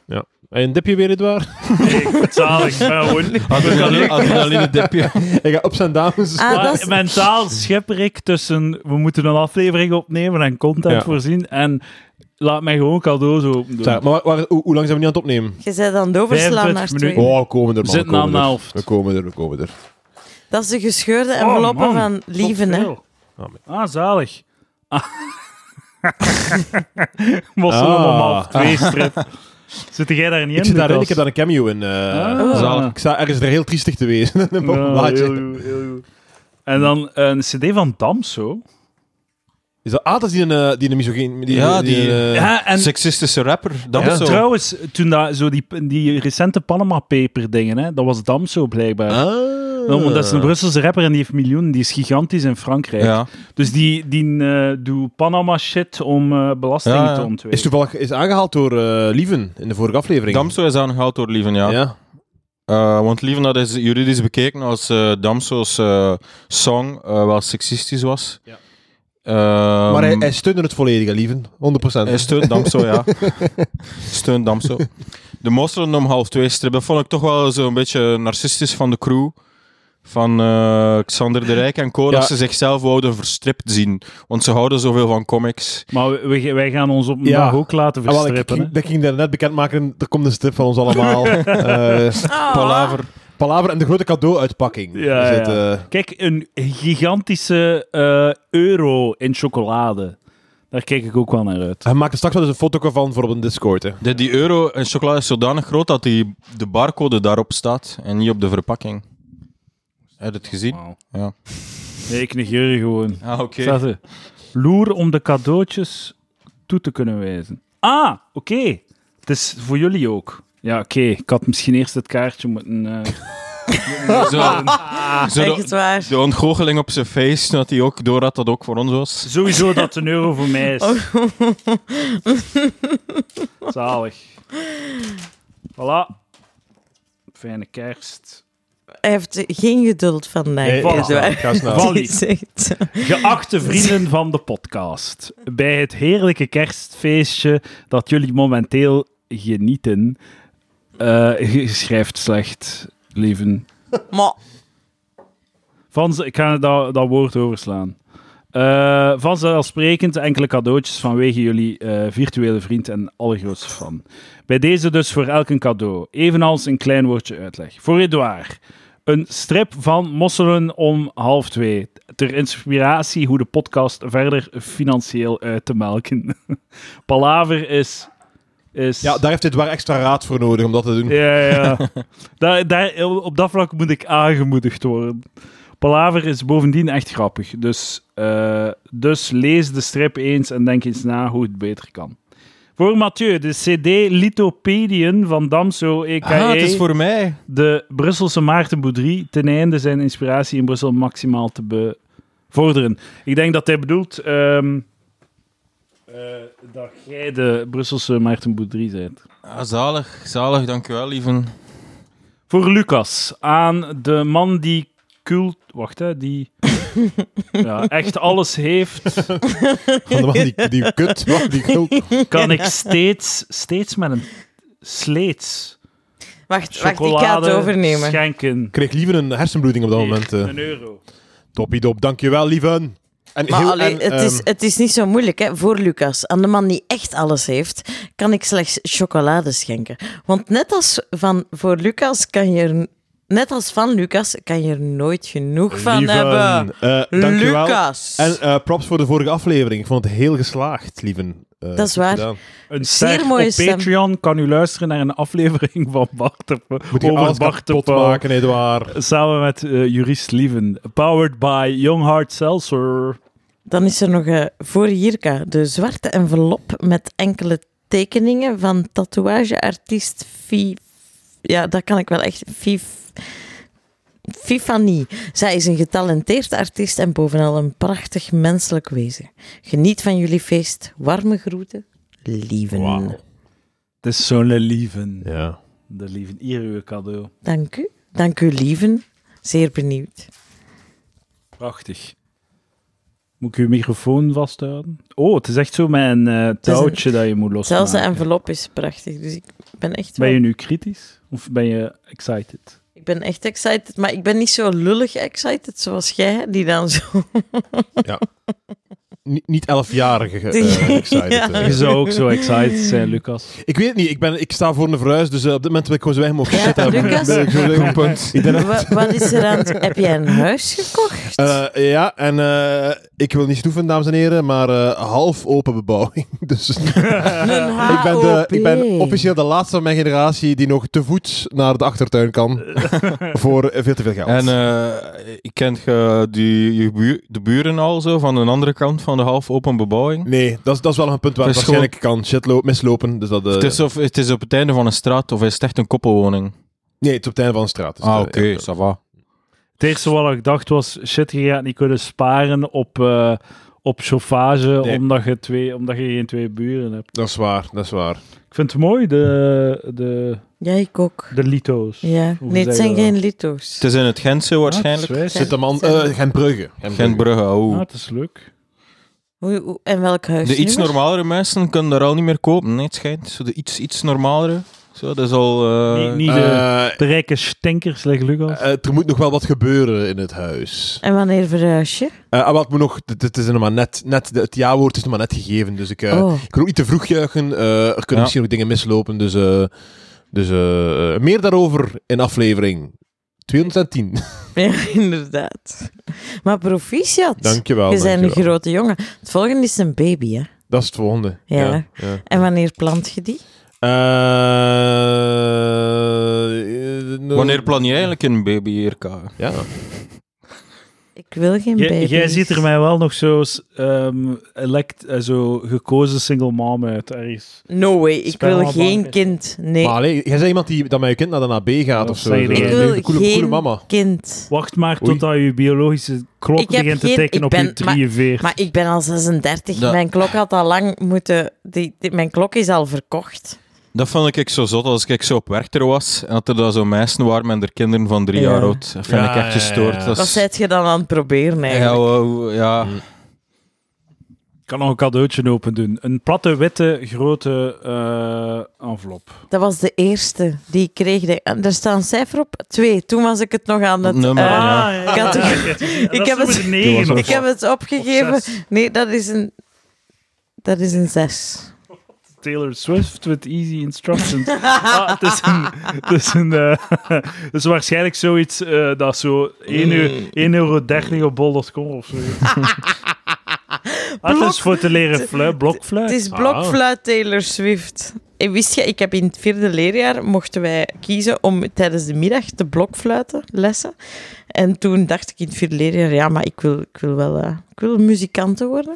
Ja. En een dipje weer, Edouard? Nee, zalig, ik ben gewoon- Adrenaline, adrenaline dipje. Hij gaat op zijn dames. Ah, Maar dat is... mentaal schipper ik tussen we moeten een aflevering opnemen en content Ja. voorzien en laat mij gewoon cadeaus open doen. Zeg, maar waar- waar- hoe, hoe lang zijn we nu aan het opnemen? Je bent aan het overslaan 25 naar minuten. twee. Oh, we komen er, man. We zitten we komen aan de er. helft. We komen er, we komen er. Dat is de gescheurde Oh, enveloppen man, van tot Lieven, hè. veel. Ah, zalig. Ah. Mossel Ah. allemaal op twee strip. Zit jij daar niet in? Ik zit daarin, ik Lucas? heb daar een cameo in. eh, Ah. zalig. Ik sta ergens er heel triestig te wezen. in een Ja, blaadje. heel goed, heel goed. En dan een cd van Damso. Is dat, ah, dat is die, een die een misogyn... Die, Ja, die- eh, ja, en Seksistische rapper, dat Ja, is zo. trouwens, toen dat, zo die, die recente Panama Paper dingen, hè, dat was Damso blijkbaar. Ah. Nou, want dat is een Brusselse rapper en die heeft miljoenen. Die is gigantisch in Frankrijk. Ja. Dus die, die eh doet Panama shit om eh, belastingen Ja, ja. te ontwijken. Is toevallig is aangehaald door eh, Lieven in de vorige aflevering. Damso is aangehaald door Lieven, ja. ja. Eh, want Lieven, dat is juridisch bekeken als eh, Damso's eh, song eh, wel seksistisch was. Ja. Ehm, Maar hij, hij steunde het volledig, hè, Lieven. 100%. Hij steunt Damso, ja. steunt Damso. De Mosteren om half twee strippen vond ik toch wel zo'n beetje narcistisch van de crew. Van eh, Xander de Rijk en co. Ja. Dat ze zichzelf wouden verstript zien. Want ze houden zoveel van comics. Maar we- we- wij gaan ons op een Ja. dag ook laten Ah, wel, ik- verstrippen. ik, dat ging daar net bekendmaken. Er komt een strip van ons allemaal. Eh, Ah. Palaver. Palaver en de grote cadeau-uitpakking. Ja, Er zit, ja. eh, hè. Kijk, een gigantische eh, euro in chocolade. Daar kijk ik ook wel naar uit. hij maakt er straks wel eens een foto van voor op een Discord. Hè. De, die euro en chocola is zodanig groot dat die, de barcode daarop staat en niet op de verpakking. Heb je het gezien? Wauw. Ja. Nee, ik negeer je gewoon. Ah, oké. Staat er. Loer om de cadeautjes toe te kunnen wijzen. Ah, oké. Het is voor jullie ook. Ja, oké. Ik had misschien eerst het kaartje moeten... eh, Zo, zo Echt de, waar. de ontgoocheling op zijn face, dat hij ook door had dat ook voor ons was. Sowieso dat een euro voor mij is. Zalig. Voilà. Fijne kerst. Hij heeft geen geduld vandaag. Nee, voilà. is waar. Ga snel. Van- Die Wally. zegt- Geachte vrienden van de podcast, bij het heerlijke kerstfeestje dat jullie momenteel genieten, eh, je schrijft slecht, lieven. Maar Van, ze- ik ga dat, dat woord overslaan. Eh vanzelfsprekend enkele cadeautjes vanwege jullie eh, virtuele vriend en allergrootste fan. Bij deze dus voor elk een cadeau. Evenals een klein woordje uitleg. Voor Edouard. Een strip van Mosselen om half twee. Ter inspiratie hoe de podcast verder financieel uit te melken. Palaver is... is Ja, daar heeft dit waar extra raad voor nodig om dat te doen. ja, ja. daar, daar, op dat vlak moet ik aangemoedigd worden. Palaver is bovendien echt grappig. Dus, eh, dus lees de strip eens en denk eens na hoe het beter kan. Voor Mathieu, de CD Lithopedian van Damso, a.k.a. Ah, het is voor mij. de Brusselse Maarten Boudry, ten einde zijn inspiratie in Brussel maximaal te bevorderen. Ik denk dat hij bedoelt ehm, eh, dat jij de Brusselse Maarten Boudry bent. Ah, zalig, zalig, dankjewel, lieven. Voor Lucas, aan de man die cult... Wacht, hè, die... Ja, echt alles heeft, Van de man die, die kut, man, die gult. kan ik steeds, steeds met een sleets Wacht, wacht, ik ga chocolade het overnemen. schenken. kreeg liever een hersenbloeding op dat Hier, moment. eh. Een euro. Toppiedop, dankjewel, lieven. En Maar heel- allee, en, het, is, ehm, het is niet zo moeilijk hè, voor Lucas. Aan de man die echt alles heeft, kan ik slechts chocolade schenken. Want net als van voor Lucas kan je er, net als van Lucas kan je er nooit genoeg van lieven, hebben. eh, dankjewel. Lucas. En eh, props voor de vorige aflevering. Ik vond het heel geslaagd, lieven. Eh, Dat is waar. gedaan. Een Zeer ster mooie op stem. Patreon kan u luisteren naar een aflevering van Bart de Pauw- Moet je over alles Bart de kapot Pauw, maken, Edouard. Samen met eh, jurist Lieven. Powered by Young Heart Seltzer. Dan is er nog eh, voor Jirka de zwarte envelop met enkele tekeningen van tatoeageartiest Fi... Ja, dat kan ik wel echt... Fi... Fifani. Zij is een getalenteerd artiest en bovenal een prachtig menselijk wezen. Geniet van jullie feest. Warme groeten. Lieven. Wauw. Het is zo'n Lieven. Ja. De Lieven. Hier uw cadeau. Dank u. Dank u, lieven. Zeer benieuwd. Prachtig. Moet ik uw microfoon vasthouden? Oh, het is echt zo mijn eh een- touwtje dat je moet losmaken. Zelfs de envelop is prachtig, dus ik ben echt Ben wel... je nu kritisch? Of ben je excited? Ik ben echt excited, maar ik ben niet zo lullig excited zoals jij, die dan zo... Niet- niet elfjarige eh, excited. Ja. eh. Je zou ook zo excited zijn, Lucas. Ik weet het niet, ik, ben, ik sta voor een verhuis, dus eh, op dit moment wil ik gewoon zo weinig mogelijk Ja, shit hebben. Lucas? Ben ik zo weinig- Ik denk dat- Wa- wat is er aan het... Heb jij een huis gekocht? Eh, ja, en eh, ik wil niet stoeven, dames en heren, maar eh, half open bebouwing. Dus een ik, ben de, HOP. ik ben officieel de laatste van mijn generatie die nog te voet naar de achtertuin kan. voor eh, veel te veel geld. En eh, ik kent je die, je buur- de buren al zo van de andere kant van de half open bebouwing? nee, dat is, dat is wel een punt waar het Het is waarschijnlijk kan shitlo- mislopen. Dus dat, eh, Het, is of, het is op het einde van een straat of is het echt een koppelwoning? Nee, het is op het einde van de straat. Dus, ah, eh, oké, ja. ça va. Het eerste wat ik dacht was, shit, je gaat niet kunnen sparen op, eh, op chauffage Nee. omdat, je twee, omdat je geen twee buren hebt. Dat is waar, dat is waar. Ik vind het mooi, de, de, Ja, ik ook. de lito's. Ja. Hoe Nee, zeg het je zijn dat? geen lito's. Het is in het Gentse waarschijnlijk. Ah, het is wijs. Zit de man... eh, Gentbrugge. Gent Brugge, Ah, oh. het is leuk. Hoe, hoe- en welk huis? De iets nu? normalere mensen kunnen daar al niet meer kopen. Nee, het schijnt. Zo de iets, iets normalere. Zo, dat is al... eh, niet niet de, Eh, de rijke stinkers, slecht Lucas. eh, er moet nog wel wat gebeuren in het huis. En wanneer verhuis je? Eh ah, wel, het moet nog, het, het is nog maar net, net, het ja-woord is nog maar net gegeven, dus ik, eh, Oh. ik wil ook niet te vroeg juichen. Eh, er kunnen Ja. misschien ook dingen mislopen, dus, eh, dus eh, eh, meer daarover in aflevering 210. Ja, inderdaad. Maar proficiat. dankjewel. je bent een dankjewel. grote jongen. Het volgende is een baby, hè? Dat is het volgende. Ja. ja. En wanneer plant je die? Eh, eh, Wanneer plan je eigenlijk een baby, Irka? Ja. Ik wil geen Jij- baby. Jij ziet er mij wel nog zo, s- ehm, elect, eh, zo gekozen single mom uit ergens. No way, ik Spel wil aan geen banken. kind. Nee, Maar allee, jij bent iemand die dat met je kind naar de AB gaat Dat of zo. zei zo. ik. Ik Een wil coole, coole geen- mama. kind. Wacht maar Oei. totdat je biologische klok Ik heb begint te geen- tikken ik op ben- je 43. Maar ik ben al 36. Dat- Mijn klok had al lang moeten. Die, die- mijn klok is al verkocht. Dat vond ik zo zot als ik zo op werchter was en dat er daar zo'n meisjes waren met haar kinderen van drie Ja. jaar oud. Dat vind Ja, ik echt ja, gestoord. ja, ja. Dat Wat is- zijt je dan aan het proberen ja, eigenlijk? wauw, ja. Ik kan nog een cadeautje open doen. Een platte, witte, grote eh, envelop. Dat was de eerste die ik kreeg. De- en Er staat een cijfer op. Twee. Toen was ik het nog aan het... Nummer, eh, ja. ik had het- ik heb het- Ik heb het opgegeven. Nee, dat is een... Dat is een zes. Taylor Swift with easy instructions. Ah, het is een... Het is, een, eh, het is waarschijnlijk zoiets eh, dat zo 1 Mm. eu- 1,30 euro op bol.com of zo. Ah, het is voor te leren fluit, blokfluit. Het is blokfluit Taylor Swift. En wist je, ik heb in het vierde leerjaar mochten wij kiezen om tijdens de middag te blokfluiten lessen. En toen dacht ik in het vierde leerjaar, ja, maar ik wil, ik wil wel eh, ik wil muzikant worden.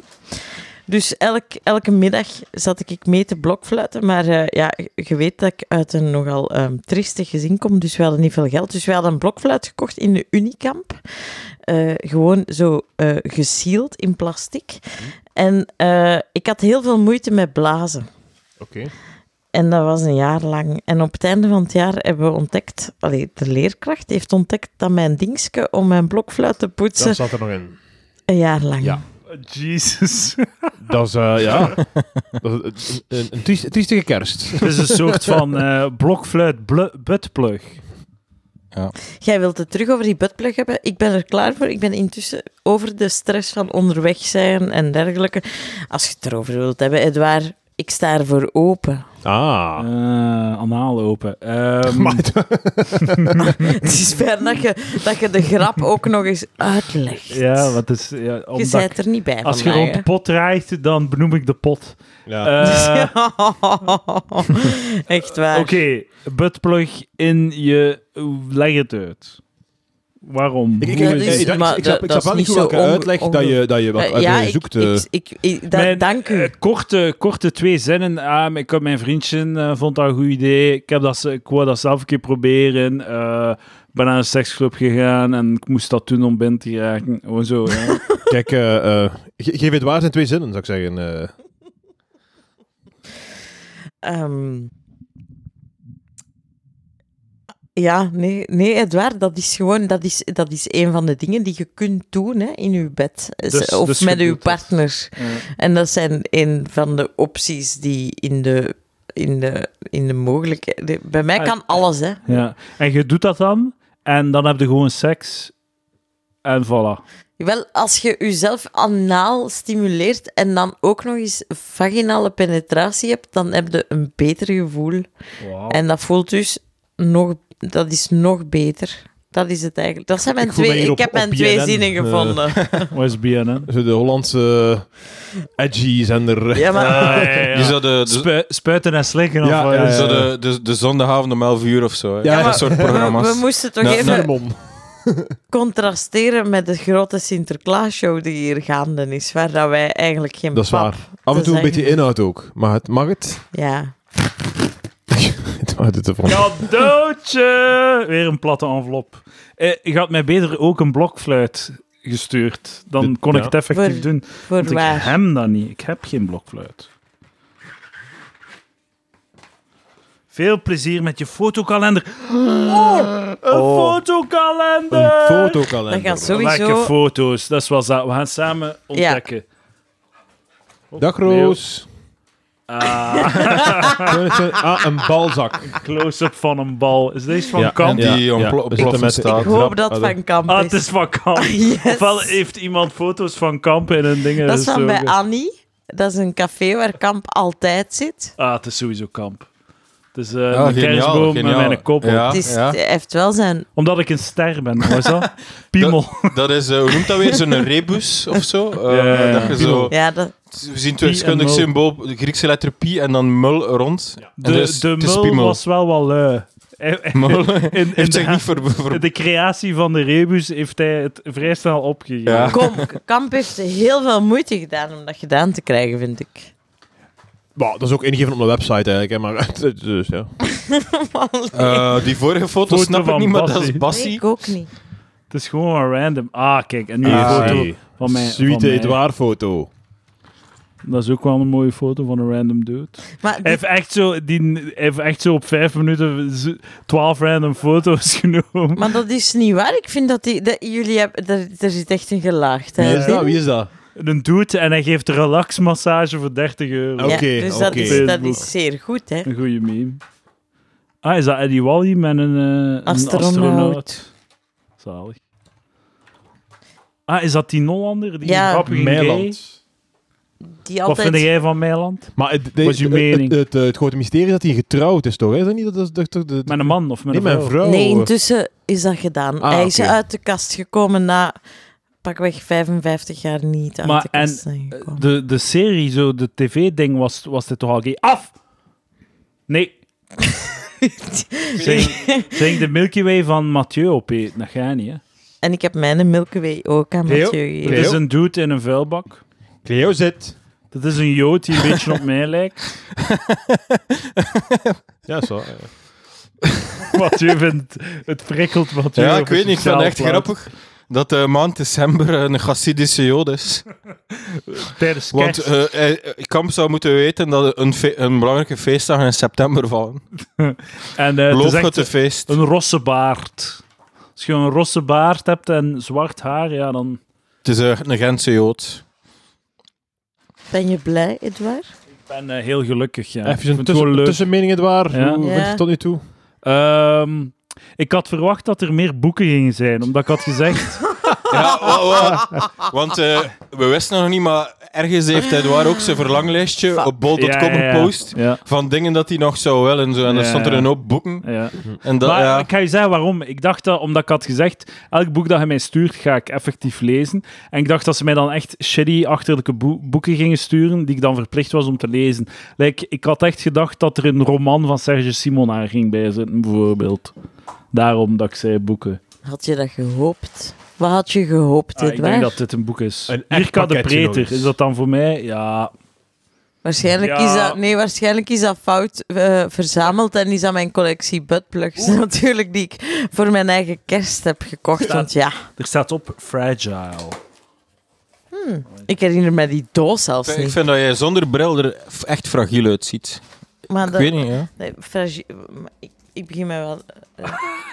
Dus elk, elke middag zat ik mee te blokfluiten. Maar eh, ja, je weet dat ik uit een nogal ehm triestig gezin kom, dus we hadden niet veel geld. Dus we hadden een blokfluit gekocht in de Unicamp. Eh, gewoon zo eh gesield in plastic. En eh, ik had heel veel moeite met blazen. Oké. En dat was een jaar lang. En op het einde van het jaar hebben we ontdekt, allee, de leerkracht heeft ontdekt dat mijn dingetje om mijn blokfluit te poetsen Dat zat er nog in. een jaar lang. Ja. Ah. Jesus. Dat is, eh, ja. Dat is een, een, een triest- een triestige kerst. Het is een soort van eh, blokfluit blu- buttplug. Jij wilt het terug over die buttplug hebben. Ik ben er klaar voor. Ik ben intussen over de stress van onderweg zijn en dergelijke. Als je het erover wilt hebben, Edouard, ik sta ervoor open. Ah. Eh, anaal open. Ehm, Maar het- Het is fijn dat je, dat je de grap ook nog eens uitlegt. ja, wat is... Ja, je omdat ik- bent er niet bij als je vandaag, rond hè. de pot draait, dan benoem ik de pot. ja. Eh, Echt waar. Oké, buttplug in je... Leg het uit. Waarom? Ik, ik, Ja, ik- dat is- ik- ik- maar ik dat- snap, ik dat snap is wel niet goed niet welke zo onge- uitleg dat je, dat je, wat, Eh, wat ja, je ik- zoekt. ik, eh. ik- ik- da- Mijn, dank u. eh, korte, korte twee zinnen. Ah, ik heb mijn vriendje eh, vond dat een goed idee. Ik, heb dat, ze- ik wou dat zelf een keer proberen. Eh, Ik ben naar een seksclub gegaan en ik moest dat doen om binnen te raken. Gewoon zo, ja. Kijk, eh, eh, ge- geef het waar in twee zinnen, zou ik zeggen. eh. Ehm, ja, nee, nee, Edouard, dat is gewoon dat is, dat is een van de dingen die je kunt doen hè, in je bed. eh, Dus- of dus met je uw doet dat. partner. Eh, En dat zijn een van de opties die in de, in de, in de mogelijkheden. Bij mij Ah, kan alles, hè? ja. En je doet dat dan en dan heb je gewoon seks. En voilà. Wel, als je jezelf anaal stimuleert en dan ook nog eens vaginale penetratie hebt, dan heb je een beter gevoel. Oh. En dat voelt dus nog, dat is nog beter. Dat is het eigenlijk. Dat zijn mijn Ik voel twee, mij hier ik op- op heb mijn twee BNN, zinnen eh. gevonden. Wat is BNN? Zo de Hollandse edgy zender. Ja, maar Je zou de, de, Spu- spuiten en slikken. Ja, of, wat? ja, ja. zo de, de, de zondagavond om 11 uur of zo. Hè. Ja, dat maar- soort we, programma's. we moesten toch Nou, even Cinnamon. contrasteren met de grote Sinterklaas-show die hier gaande is, waar dat wij eigenlijk geen Dat is pap waar. Af en te toe een beetje zeggen- inhoud ook. Maar het mag het. Ja. het mag het ervan. Cadeautje! Weer een platte envelop. Eh, je had mij beter ook een blokfluit gestuurd. Dan Dit- kon ik ja. het effectief Voor- doen. Voor Want ik waar? hem dan niet. Ik heb geen blokfluit. Veel plezier met je fotokalender. Oh, een fotokalender! Een fotokalender. Dat gaat zo- Lekker Sowieso. foto's, dat is wat dat. We gaan samen ontdekken. Dag Roos. Ah, Ah, een balzak. close-up van een bal. Is deze van Ja, Kamp? en die Ja, ontplo- we zitten ontploffen met- staat. Ik hoop dat Adem. van Kamp Ah, is. het is van Kamp. Yes. Ofwel heeft iemand foto's van Kamp in een ding. Dat is zo dan bij ge- Annie. Dat is een café waar Kamp altijd zit. Ah, het is sowieso Kamp. Het is eh Ja, een geniaal, kerstboom met geniaal. mijn kop. op. Ja, Het is, ja. Dus Hij heeft wel zijn... Omdat ik een ster ben, was dat? Piemel. Dat is, eh, hoe noemt dat weer? Zo'n rebus of zo? Eh, Ja, ja, ja. Dat je zo, Ja, dat, we zien het Pi en wiskundig mul. symbool, de Griekse letter pi en dan mul rond. De, Dus de het is mul piemel. was wel wel lui. Hij- hij- Mul in, in heeft zich niet de, ver... ver- de creatie van de rebus heeft hij het vrij snel opgegeven. Ja. Kom, Kamp heeft heel veel moeite gedaan om dat gedaan te krijgen, vind ik. Bah, dat is ook ingegeven op mijn website eigenlijk. Hè, maar, dus, ja. Eh, die vorige foto Foto snap ik van niet, maar dat Bassie. is Nee, Bassie. ik ook niet. Het is gewoon maar random. Ah, kijk, en nu een Ah, foto zie. van mij. van Sweet mij. Edouard foto. Dat is ook wel een mooie foto van een random dude. Maar Hij die, heeft echt zo, die, hij heeft echt zo op vijf minuten z- twaalf random foto's genomen. maar dat is niet waar. Ik vind dat, die, dat jullie hebben... Er, er zit echt een Wie is gelaagdheid dat? in. Wie is dat? een dude en hij geeft een relaxmassage voor 30 euro. Oké, Ja, dus dat, oké. is, dat Facebook. is zeer goed, hè. Een goede meme. Ah, is dat Eddie Wally met een, eh, een Astronaut. astronaut? Zalig. Ah, is dat die Nollander? Die Ja. grappige gay? Meiland. Die Wat altijd... vind jij van Meiland? Maar het, Wat is je het- het- mening? Het, het- het grote mysterie is dat hij getrouwd is, toch? Is dat niet? Dat, dat, dat, dat, dat- Met een man of met nee, een mijn vrouw? vrouw. Nee, intussen is dat gedaan. Oh. Ah, Hij is oké. uit de kast gekomen na pakweg 55 jaar niet uit Maar de en, kast zijn gekomen. De, de serie, zo, de tv-ding, was, was dit toch al gay? Af! Nee. Zing, zing de Milky Way van Mathieu opeten, dat gaat niet, hè? En ik heb mijn Milky Way ook aan Theo? Mathieu gegeven. Dat is een dude in een vuilbak. Cleo zit. Dat is een jood die een beetje op mij lijkt. Ja, zo. Mathieu vindt het prikkelt Mathieu. Ja, op ik weet niet, ik vind sociaal het echt plan. grappig. dat de maand december eh, een Chassidische jood is. Tijdens Want kerst. eh, hij- Kamp zou moeten weten dat een, fe- een belangrijke feestdag in september vallen. en eh, het is echt Loofhuttenfeest. een rosse baard. Als je een rosse baard hebt en zwart haar, ja, dan... Het is eh, een Gentse jood. Ben je blij, Edouard? Ik ben eh, heel gelukkig, ja. Ik Even vind een het gewoon tussen, leuk. tussenmening, Edouard. Ja. Hoe Ja. vind je het tot nu toe? Ehm, ik had verwacht dat er meer boeken gingen zijn, omdat ik had gezegd... Ja, wa- wa- want eh, we wisten nog niet, maar ergens heeft Edouard ook zijn verlanglijstje Fuck. op bol.com Ja, ja, ja. gepost. Ja, Van dingen dat hij nog zou willen en zo. En Ja, er stond er ja. een hoop boeken. ja. En dat, maar ja. ik ga je zeggen waarom. Ik dacht dat, omdat ik had gezegd, elk boek dat je mij stuurt, ga ik effectief lezen. En ik dacht dat ze mij dan echt shitty achterlijke boe- boeken gingen sturen, die ik dan verplicht was om te lezen. Like, ik had echt gedacht dat er een roman van Serge Simonaar ging bijzitten, bijvoorbeeld. Daarom dat ik zei boeken. Had je dat gehoopt? Wat had je gehoopt, Ah, ik Edouard? denk dat dit een boek is. Een echt Jirka de pakketje nog Preter, eens. is dat dan voor mij? Ja. Waarschijnlijk, Ja. is dat, nee, waarschijnlijk is dat fout eh, verzameld en is dat mijn collectie buttplugs natuurlijk die ik voor mijn eigen kerst heb gekocht. Ja. Want ja, Er staat op Fragile. ik herinner me die doos zelfs Ik niet. vind dat jij zonder bril er f- echt fragiel uitziet. Maar Ik dat- weet niet, ja. nee, fragi- maar ik, ik begin mij wel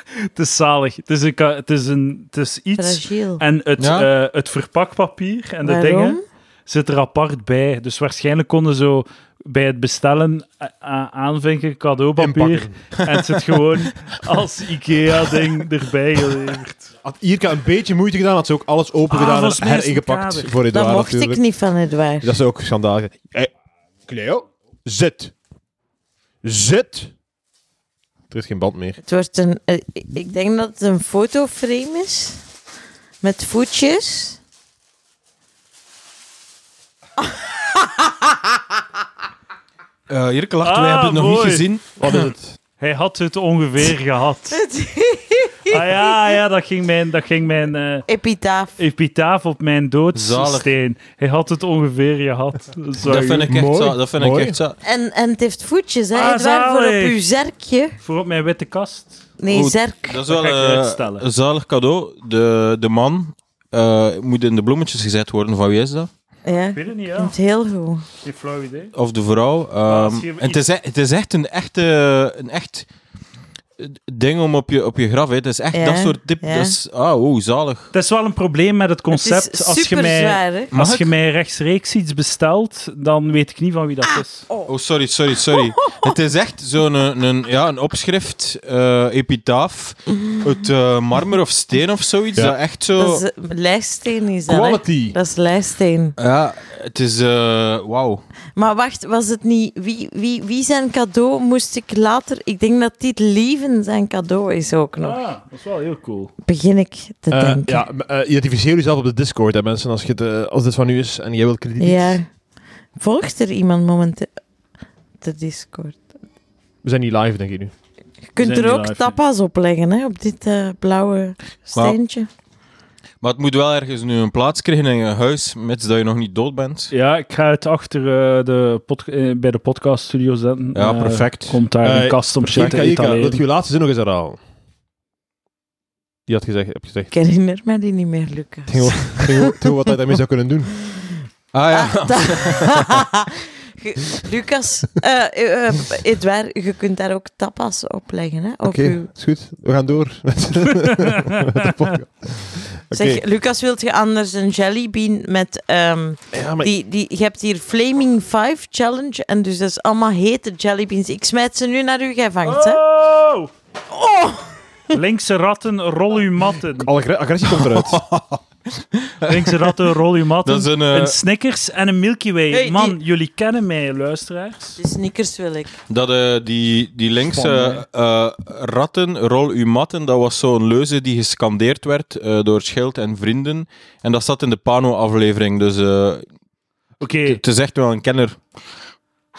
Het is zalig. Het is, een, ka- het is, een, het is iets... fragiel. En het, Ja. eh, het verpakpapier en de Waarom? dingen zit er apart bij. Dus waarschijnlijk konden zo bij het bestellen a- a- aanvinken cadeaupapier. Inpakken. En het zit gewoon als IKEA-ding erbij geleverd. Had Ierka een beetje moeite gedaan, had ze ook alles open Ah, gedaan volgens en mij is het heringepakt kader. voor Dat Edouard mocht natuurlijk. ik niet van Edouard. Dat zou ook schandalig zijn. Hey, Cleo, zit. Zit. Er is geen band meer. Het wordt een, eh, ik- ik denk dat het een fotoframe is met voetjes. Eh Jirke lacht, Ah, wij hebben het nog mooi. niet gezien. Wat is het? Hij had het ongeveer gehad. Ah ja, ja dat ging mijn, dat ging mijn eh, Epitaaf. epitaaf op mijn doodsteen. Hij had het ongeveer gehad. Zag Dat je? vind ik echt Mooi. zo. Dat vind Mooi. ik echt zo. En, en het heeft voetjes, hè? Ah, Edouard, voor op zalig. uw zerkje. Voor op mijn witte kast. Nee, Goed. zerk. Dat Dat is wel ga ik eh, uitstellen. een zalig cadeau. De, de man eh, moet in de bloemetjes gezet worden. Van wie is dat? Ja, Ik weet het niet, het ja. heel goed. Geen flauw idee. Of de vrouw. als ehm, je en het, is, e- het is echt een, echte, een echt ding om op je, op je graf. Hè. Het is echt Ja, dat soort tip. ja. Dat is, ah, oeh, zalig. Het is wel een probleem met het concept. het is als je super mij, zwaar, hè? Mag als ik? je mij rechtstreeks iets bestelt, dan weet ik niet van wie dat Ah, is. Oh, sorry, sorry, sorry. het is echt zo'n een, een, ja, een opschrift, eh epitaaf, uit eh, marmer of steen of zoiets. Ja. Dat echt zo... Mhm. Dat is eh, lijststeen, is dat? hè? Quality. Dat is lijststeen. Ja, het is... eh, Wauw. Maar wacht, was het niet... Wie, wie, wie zijn cadeau moest ik later... Ik denk dat dit Lieven zijn cadeau is ook nog. Ah, dat is wel heel cool. Begin ik te Eh, denken. ja, m- eh, identificeer jezelf op de Discord, hè, mensen. Als, je het, eh, als dit van u is en jij wilt krediet. Ja. Volgt er iemand momenteel de Discord? We zijn niet live, denk ik nu. Je kunt zijn er niet ook live, tapas op leggen, hè? Op dit eh, blauwe steentje. Maar het moet wel ergens nu een plaats krijgen in je huis, mits dat je nog niet dood bent. Ja, ik ga het achter eh, de pod- eh, bij de podcaststudio zetten. Ja, Eh, perfect. komt daar een Eh, kast om shit Jirka, te Jirka, etaleren. dat je je laatste zin nog eens herhalen. Die had gezegd, heb gezegd. Ik herinner me die niet meer, Het ging Lucas. over- het ging over- het ging over wat hij daarmee zou kunnen doen. Ah ja. Ah, da- Ge- Lucas, eh eh, eh, Edouard, je kunt daar ook tapas op leggen. Hè? Op Oké, uw- is goed. We gaan door met, met de podcast. Zeg, Oké. Lucas, wilt je anders een jellybean met... ehm, Ja, maar die, die, je hebt hier Flaming 5 Challenge en dus dat is allemaal hete jellybeans. Ik smijt ze nu naar u, jij vangt hè? Oh! Oh! Linkse ratten, rol uw matten. alle agre- agressie komt eruit. Linkse ratten, rol uw matten. Dat is een, eh, Een Snickers en een Milky Way. Hey, die- Man, jullie kennen mij, luisteraars. De sneakers wil ik. Dat eh, die, die linkse Spannend, eh, ratten, rol uw matten, dat was zo'n leuze die gescandeerd werd eh, door Schild en vrienden. En dat zat in de Pano-aflevering, dus eh, Oké, het is echt wel een kenner.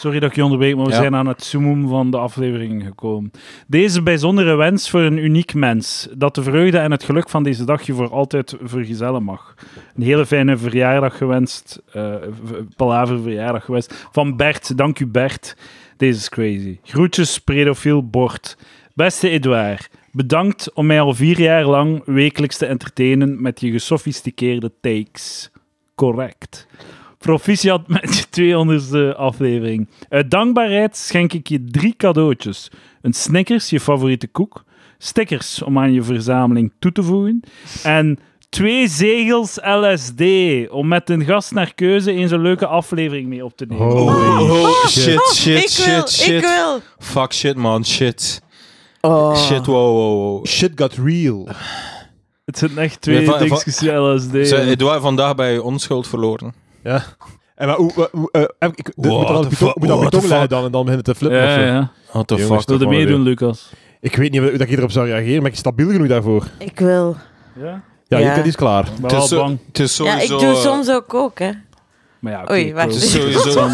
Sorry dat ik je onderbreek, maar we Ja. zijn aan het summum van de aflevering gekomen. Deze bijzondere wens voor een uniek mens. Dat de vreugde en het geluk van deze dag je voor altijd vergezellen mag. Een hele fijne verjaardag gewenst. eh, v- palaver verjaardag gewenst. Van Bert, dank u Bert. Deze is crazy. Groetjes, predofiel bord. Beste Edouard. Bedankt om mij al vier jaar lang wekelijks te entertainen met je gesofisticeerde takes. Correct. Proficiat met je 200ste aflevering. Uit dankbaarheid schenk ik je drie cadeautjes. Een Snickers, je favoriete koek. Stickers om aan je verzameling toe te voegen. En twee zegels LSD om met een gast naar keuze eens een leuke aflevering mee op te nemen. Oh, shit, Oh, shit, ik shit, wil, shit. Ik wil. Fuck shit, man, shit. Oh. Shit, wow, wow, wow. Shit got real. Het zijn echt twee Nee, van- van- dingetjes LSD. Zij- Edouard, vandaag bij je onschuld verloren. Ja. En maar hoe, hoe- hoe- eh, heb ik, ik- de- What moet dat the op je tong- fuck, moet dat op je what the tong leggen fuck. dan en dan beginnen te flippen. of ja, zo. ja. What the Jongens, fuck. Wilde toch maar meedoen, Lucas. Ik weet niet hoe dat ik erop zou reageren, maar ik stabiel genoeg daarvoor. Ik wil. Ja? Ja, Ja. je kant is klaar. Maar Het is, wel zo- bang. het is Ja, ik sowieso... doe eh, soms ook ook, hè. Maar ja, oké, Oei, wacht. cool. het is sowieso...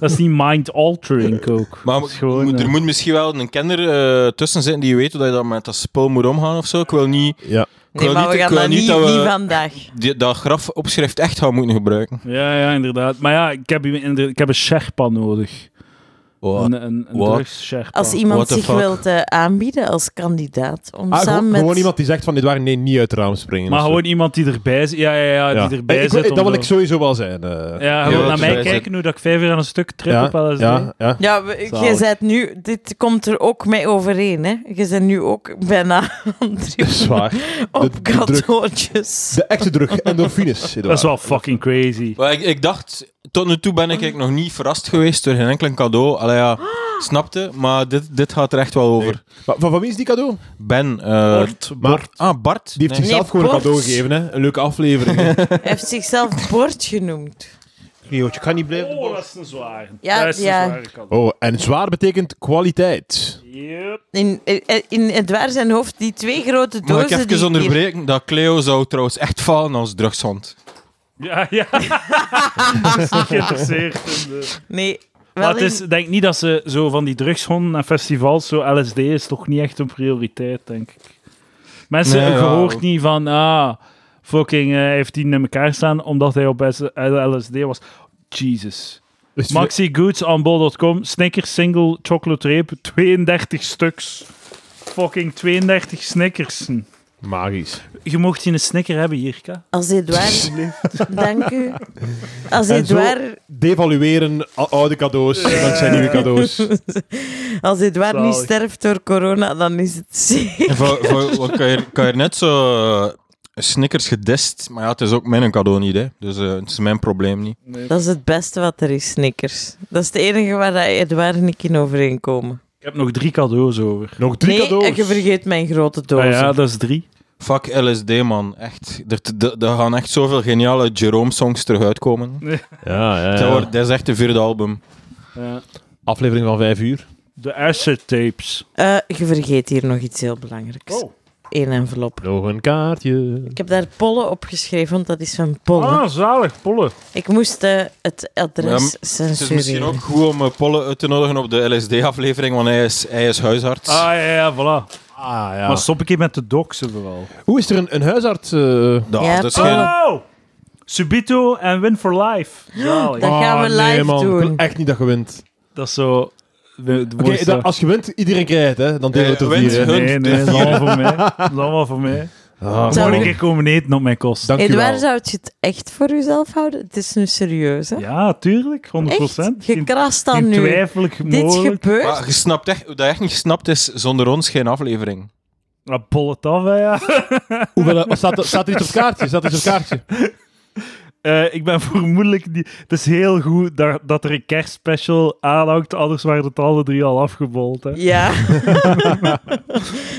Dat is niet mind-altering ook. Maar Dat is gewoon, moet- eh, er moet misschien wel een kenner eh, tussen zitten die weet hoe dat je dan met dat spul moet omgaan of zo. Ik wil niet Ja. wil Nee, maar niet- we ik gaan wil dat niet niet, dat we- niet vandaag. die, dat grafopschrift echt gaan moeten gebruiken. Ja, ja, inderdaad. Maar ja, ik heb, hier inder- ik heb een Sherpa nodig. Wat? Een, een, een What? drugssherpa. Als What iemand the zich fuck? wilt eh, aanbieden als kandidaat om Ah, samen gewoon, met... gewoon iemand die zegt van dit waren nee, niet uit het raam springen. Maar of zo. gewoon iemand die erbij zit. Ja, ja, ja, Ja. die erbij Eh, ik- zit. om Dat wil zo- ik sowieso wel zijn. eh. Ja, Ja, gewoon naar dat mij is- kijken hoe dat ik vijf uur aan een stuk trip ja, op LSD. ja, ja. Ja, we- jij Zalig. zet nu... Dit komt er ook mee overeen, hè. Je bent nu ook bijna aan Dat drie is waar. op de druk. cadeautjes. De echte druk, endorfines. Dat is wel fucking crazy. Maar ik, ik dacht, tot nu toe ben ik eigenlijk nog niet verrast geweest door geen enkel cadeau. Allee, Ah. ja, snapte, maar dit, dit gaat er echt wel over. Maar van, van wie is die cadeau? Ben, eh, Bart, Maar Bart. ah, Bart. die heeft Nee. zichzelf Nee, gewoon Bart. een cadeau gegeven. Hè? Een leuke aflevering. hè. Hij heeft zichzelf Bord genoemd. Riootje, ik ga niet blijven. Oh, dat is een zwaar. Ja, dat is ja. een zware kant. Oh, en zwaar betekent kwaliteit. Yep. In, in, in Edouard zijn hoofd, die twee grote dozen... Mag ik die even hier- onderbreken dat Cleo zou trouwens echt falen als drugshond? Ja, ja. dat is niet geïnteresseerd. in de- Nee, wel Maar het is, in- denk niet dat ze zo van die drugshonden en festivals, zo LSD is toch niet echt een prioriteit, denk ik. Mensen Nee, ja. gehoord niet van, ah, fucking eh, heeft die in elkaar staan omdat hij op S- LSD was. Jesus. Dus het- Maxi Goods on bol.com, Snickers single chocolate reep, 32 stuks. Fucking 32 Snickers. Magisch. Je mocht hier een Snicker hebben, Jirka. Als Edouard... Dank u. Als En zo- Edouard... Devalueren a- oude cadeaus dankzij nieuwe cadeaus. Als Edouard nu Zalig. sterft door corona, dan is het zeker. En voor, voor, want kan, je, kan je net zo eh, Snickers gedist, maar ja, het is ook mijn cadeau niet, hè. Dus eh, het is mijn probleem niet. Dat is het beste wat er is, Snickers. Dat is het enige waar dat Edouard en ik in overeenkomen. Ik heb nog drie cadeaus over. Nog drie nee, cadeaus. en je vergeet mijn grote doos. Ah ja, dat is drie. Fuck LSD, man. Echt. Er, er- er gaan echt zoveel geniale Jerome-songs terug uitkomen. Ja, ja, Dat, Eh. wordt- dat is echt de vierde album. Ja. Aflevering van vijf uur. de asset tapes. Eh, je vergeet hier nog iets heel belangrijks. Oh. Eén envelop. Nog een kaartje. Ik heb daar Pollen op geschreven, want dat is van Pollen. Ah, zalig, pollen. Ik moest eh, het Ja, adres maar Het is censureren. misschien ook goed om eh, Polle uit te nodigen op de LSD-aflevering, want hij is, hij is huisarts. Ah, ja, ja, voilà. Ah, ja. Maar stop ik hier met de doxen vooral. Hoe is er een, een huisarts? eh, Dat, Ja, dat is Polle. geen... Oh! Subito en Win for Life. Zalig. Dat gaan we ah, nee, live man. Ik doen. wil echt niet dat je wint. eh. Dat is zo... de- de Oké, mooiste- dan- als je wint, iedereen krijgt, hè? Dan delen we het Eh, er wint, vier. hè. hun- Nee, nee, dat is allemaal voor mij. Dat is allemaal voor mij. Ah, Dan Zou- moet ik komen eten op mijn kost. dank je wel. Edouard, zou je het echt voor jezelf houden? Het is nu serieus, hè? Ja, tuurlijk. 100%. echt? Je Geen, krast dan geen nu. twijfelijk Dit mogelijk. gebeurt. Maar je snapt echt, dat echt niet gesnapt is, zonder ons geen aflevering. Ah, Pol het af, hè, ja. Hoeveel, wat staat, er- staat er iets op het kaartje? Staat er iets op het kaartje? Eh, ik ben vermoedelijk niet... Het is heel goed dat, dat er een kerstspecial aanhangt, anders waren het alle drie al afgebold. Hè. Ja.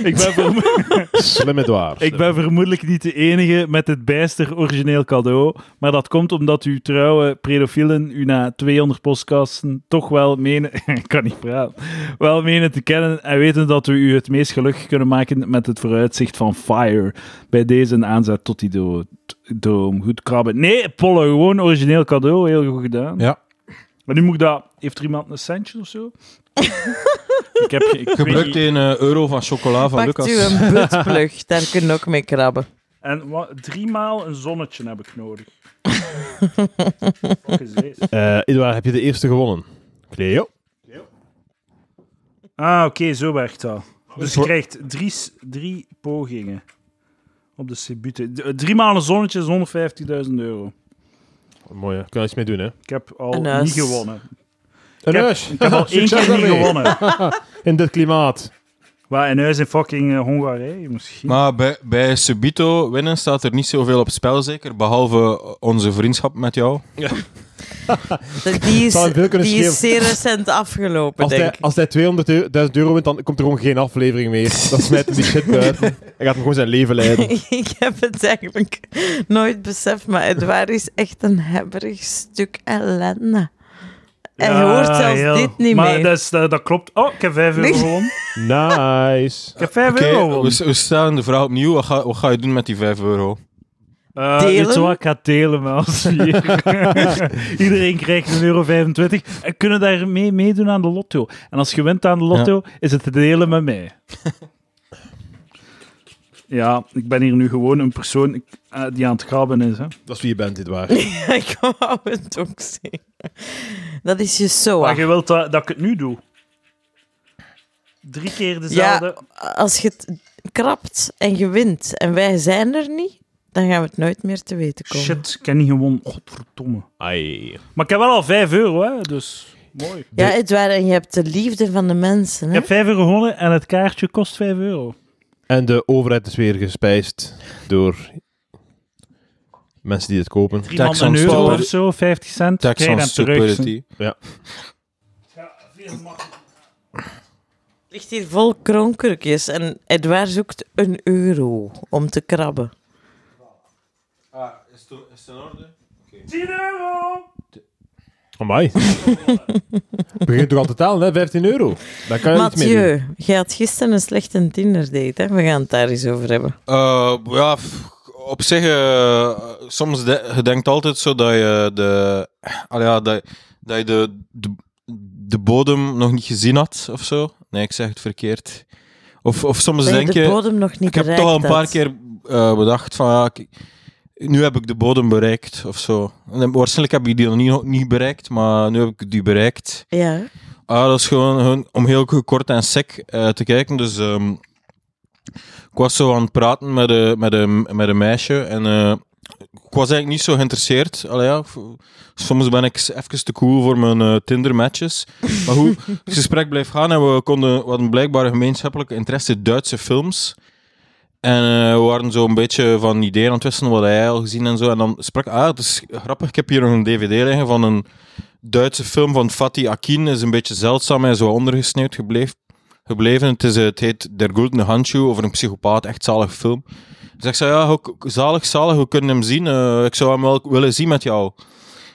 Ik ben vermoedelijk... Slim Edouard. Ik ben vermoedelijk niet de enige met het bijster origineel cadeau. Maar dat komt omdat uw trouwe predofielen u na 200 podcasten toch wel menen... ik kan niet praten. Wel menen te kennen en weten dat we u het meest gelukkig kunnen maken met het vooruitzicht van Fire. Bij deze een aanzet tot die do- doom. Goed krabben. Nee, Pollo, gewoon origineel cadeau. Heel goed gedaan. Ja. Maar nu moet ik dat... Heeft er iemand een centje of zo? ik heb... ge- Ik weet Gebruikt niet. een eh, euro van chocola van Pakt u Lucas. een buttplug, daar kun je ook mee krabben. En wa- drie maal een zonnetje heb ik nodig. Fuck is deze? Eh, Edouard, heb je de eerste gewonnen? Cleo? ah, oké, zo werkt dat. Oké, Dus je krijgt drie, s- drie pogingen op de Sibute. D- eh, Drie maanden zonnetje is 150.000 euro. Mooi, hè. Kan er iets mee doen, hè? Ik heb al Een huis. niet gewonnen. Een Ik heb, huis! ik heb al één Succes keer niet daarmee. gewonnen. In dit klimaat. Waar een huis in fucking eh, Hongarije misschien. Maar bij, bij Subito winnen staat er niet zoveel op spel, zeker. Behalve onze vriendschap met jou. De- Die is, Zal hem veel kunnen die is schelen. zeer recent afgelopen, Als denk hij, ik. als hij 200.000 euro wint, dan komt er gewoon geen aflevering meer. Dan snijdt hij die shit buiten. Hij gaat hem gewoon zijn leven leiden. ik heb het eigenlijk nooit beseft, maar Edouard is echt een hebberig stuk ellende. Hij hoort zelfs heel- dit niet Ah, maar meer. dat is- dat, dat klopt. Oh, ik heb 5 euro Nee. gewonnen. Nice. Ik heb 5 Oké, euro we, gewonnen. we stellen de vraag opnieuw. Wat ga, wat ga je doen met die 5 euro? Eh, Delen? Weet je wat? Ik ga delen met ons vier. Iedereen krijgt een euro 25. En kunnen daarmee meedoen aan de lotto. En als je wint aan de lotto, is het te delen met mij. ja, ik ben hier nu gewoon een persoon ik- eh, die aan het grabben is. Hè. Dat is wie je bent, dit waar. Ja, ik wou het ook zeggen. Dat is je zo. Maar je wilt dat, dat ik het nu doe. Drie keer dezelfde. Als je het krapt en je wint en wij zijn er niet, dan gaan we het nooit meer te weten komen. Shit, ik heb niet gewonnen. Godverdomme. Ai. Maar ik heb wel al 5 euro, hè, dus mooi. Ja, Edouard, en je hebt de liefde van de mensen. Ik Hè? heb 5 euro gewonnen en het kaartje kost 5 euro. En de overheid is weer gespijsd door mensen die het kopen. Drie Tax man een on euro super- of zo, 50 cent. Tax Krijg on je hem terug. stupidity. ligt hier vol kroonkurkjes en Edouard zoekt een euro om te krabben. Ah, is het, is in orde? 10 euro! Amai. Begint toch al te talen, hè? 15 euro. Daar kan je iets mee doen. Mathieu, jij had gisteren een slechte Tinder-date. hè? We gaan het daar eens over hebben. Eh, ja, f- op zich, eh, soms de, je denkt altijd zo dat je de, al ja, dat, dat je de, de, de bodem nog niet gezien had of zo. Nee, ik zeg het verkeerd. Of, of soms Dat je denk de je. bodem nog niet Ik heb bereikt toch al een paar had. keer eh, bedacht van ja, ik- nu heb ik de bodem bereikt of zo. En eh, waarschijnlijk heb ik die nog niet, niet bereikt, maar nu heb ik die bereikt. Ja, Ah, dat is gewoon, gewoon om heel kort en sec eh, te kijken. Dus ehm, ik was zo aan het praten met een, met een, met een meisje en eh, ik was eigenlijk niet zo geïnteresseerd. Allee, ja, v- soms ben ik even te cool voor mijn eh, Tinder-matches. Maar hoe het gesprek bleef gaan en we, konden, we hadden blijkbaar een gemeenschappelijke interesse in Duitse films. En eh, we waren zo een beetje van ideeën aan het wisselen, wat hij al gezien en zo. En dan sprak ah, het is grappig, ik heb hier nog een dvd liggen van een Duitse film van Fatih Akin. is een beetje zeldzaam en zo ondergesneeuwd gebleven. gebleven. Het, is, eh, het heet Der Goldene Handschuh, over een psychopaat, echt zalig film. Dus ik zei, ja, hoe- zalig, zalig, we kunnen hem zien. Eh, ik zou hem wel willen zien met jou.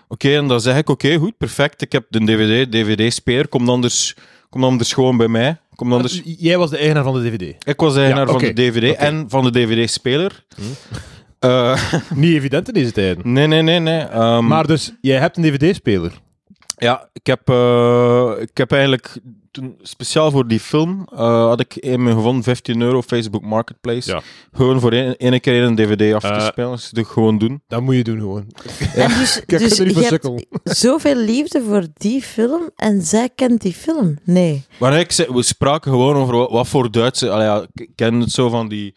Oké, en dan zeg ik, oké, goed, perfect. Ik heb de dvd, dvd-speer, kom anders, kom anders gewoon bij mij. Kom anders... Jij was de eigenaar van de DVD. Ik was eigenaar Ja, oké, van de DVD oké. Hm. en van de DVD-speler. Eh, Niet evident in deze tijden. nee, nee, nee, nee. ehm, Maar dus, jij hebt een DVD-speler. Ja, ik heb, eh, ik heb eigenlijk toen, speciaal voor die film eh, had ik in mijn gewoon 15 euro Facebook Marketplace. Ja. Gewoon voor één één keer een DVD af te Eh. spelen. Dus dat gewoon doen. Dat moet je doen gewoon. En dus, Kijk, dus er niet je voor hebt sukkel. zoveel liefde voor die film en zij kent die film. Nee. Maar nee, ik, zei- we spraken gewoon over wat, wat voor Duitse. Allee, ja, ik ken het zo van die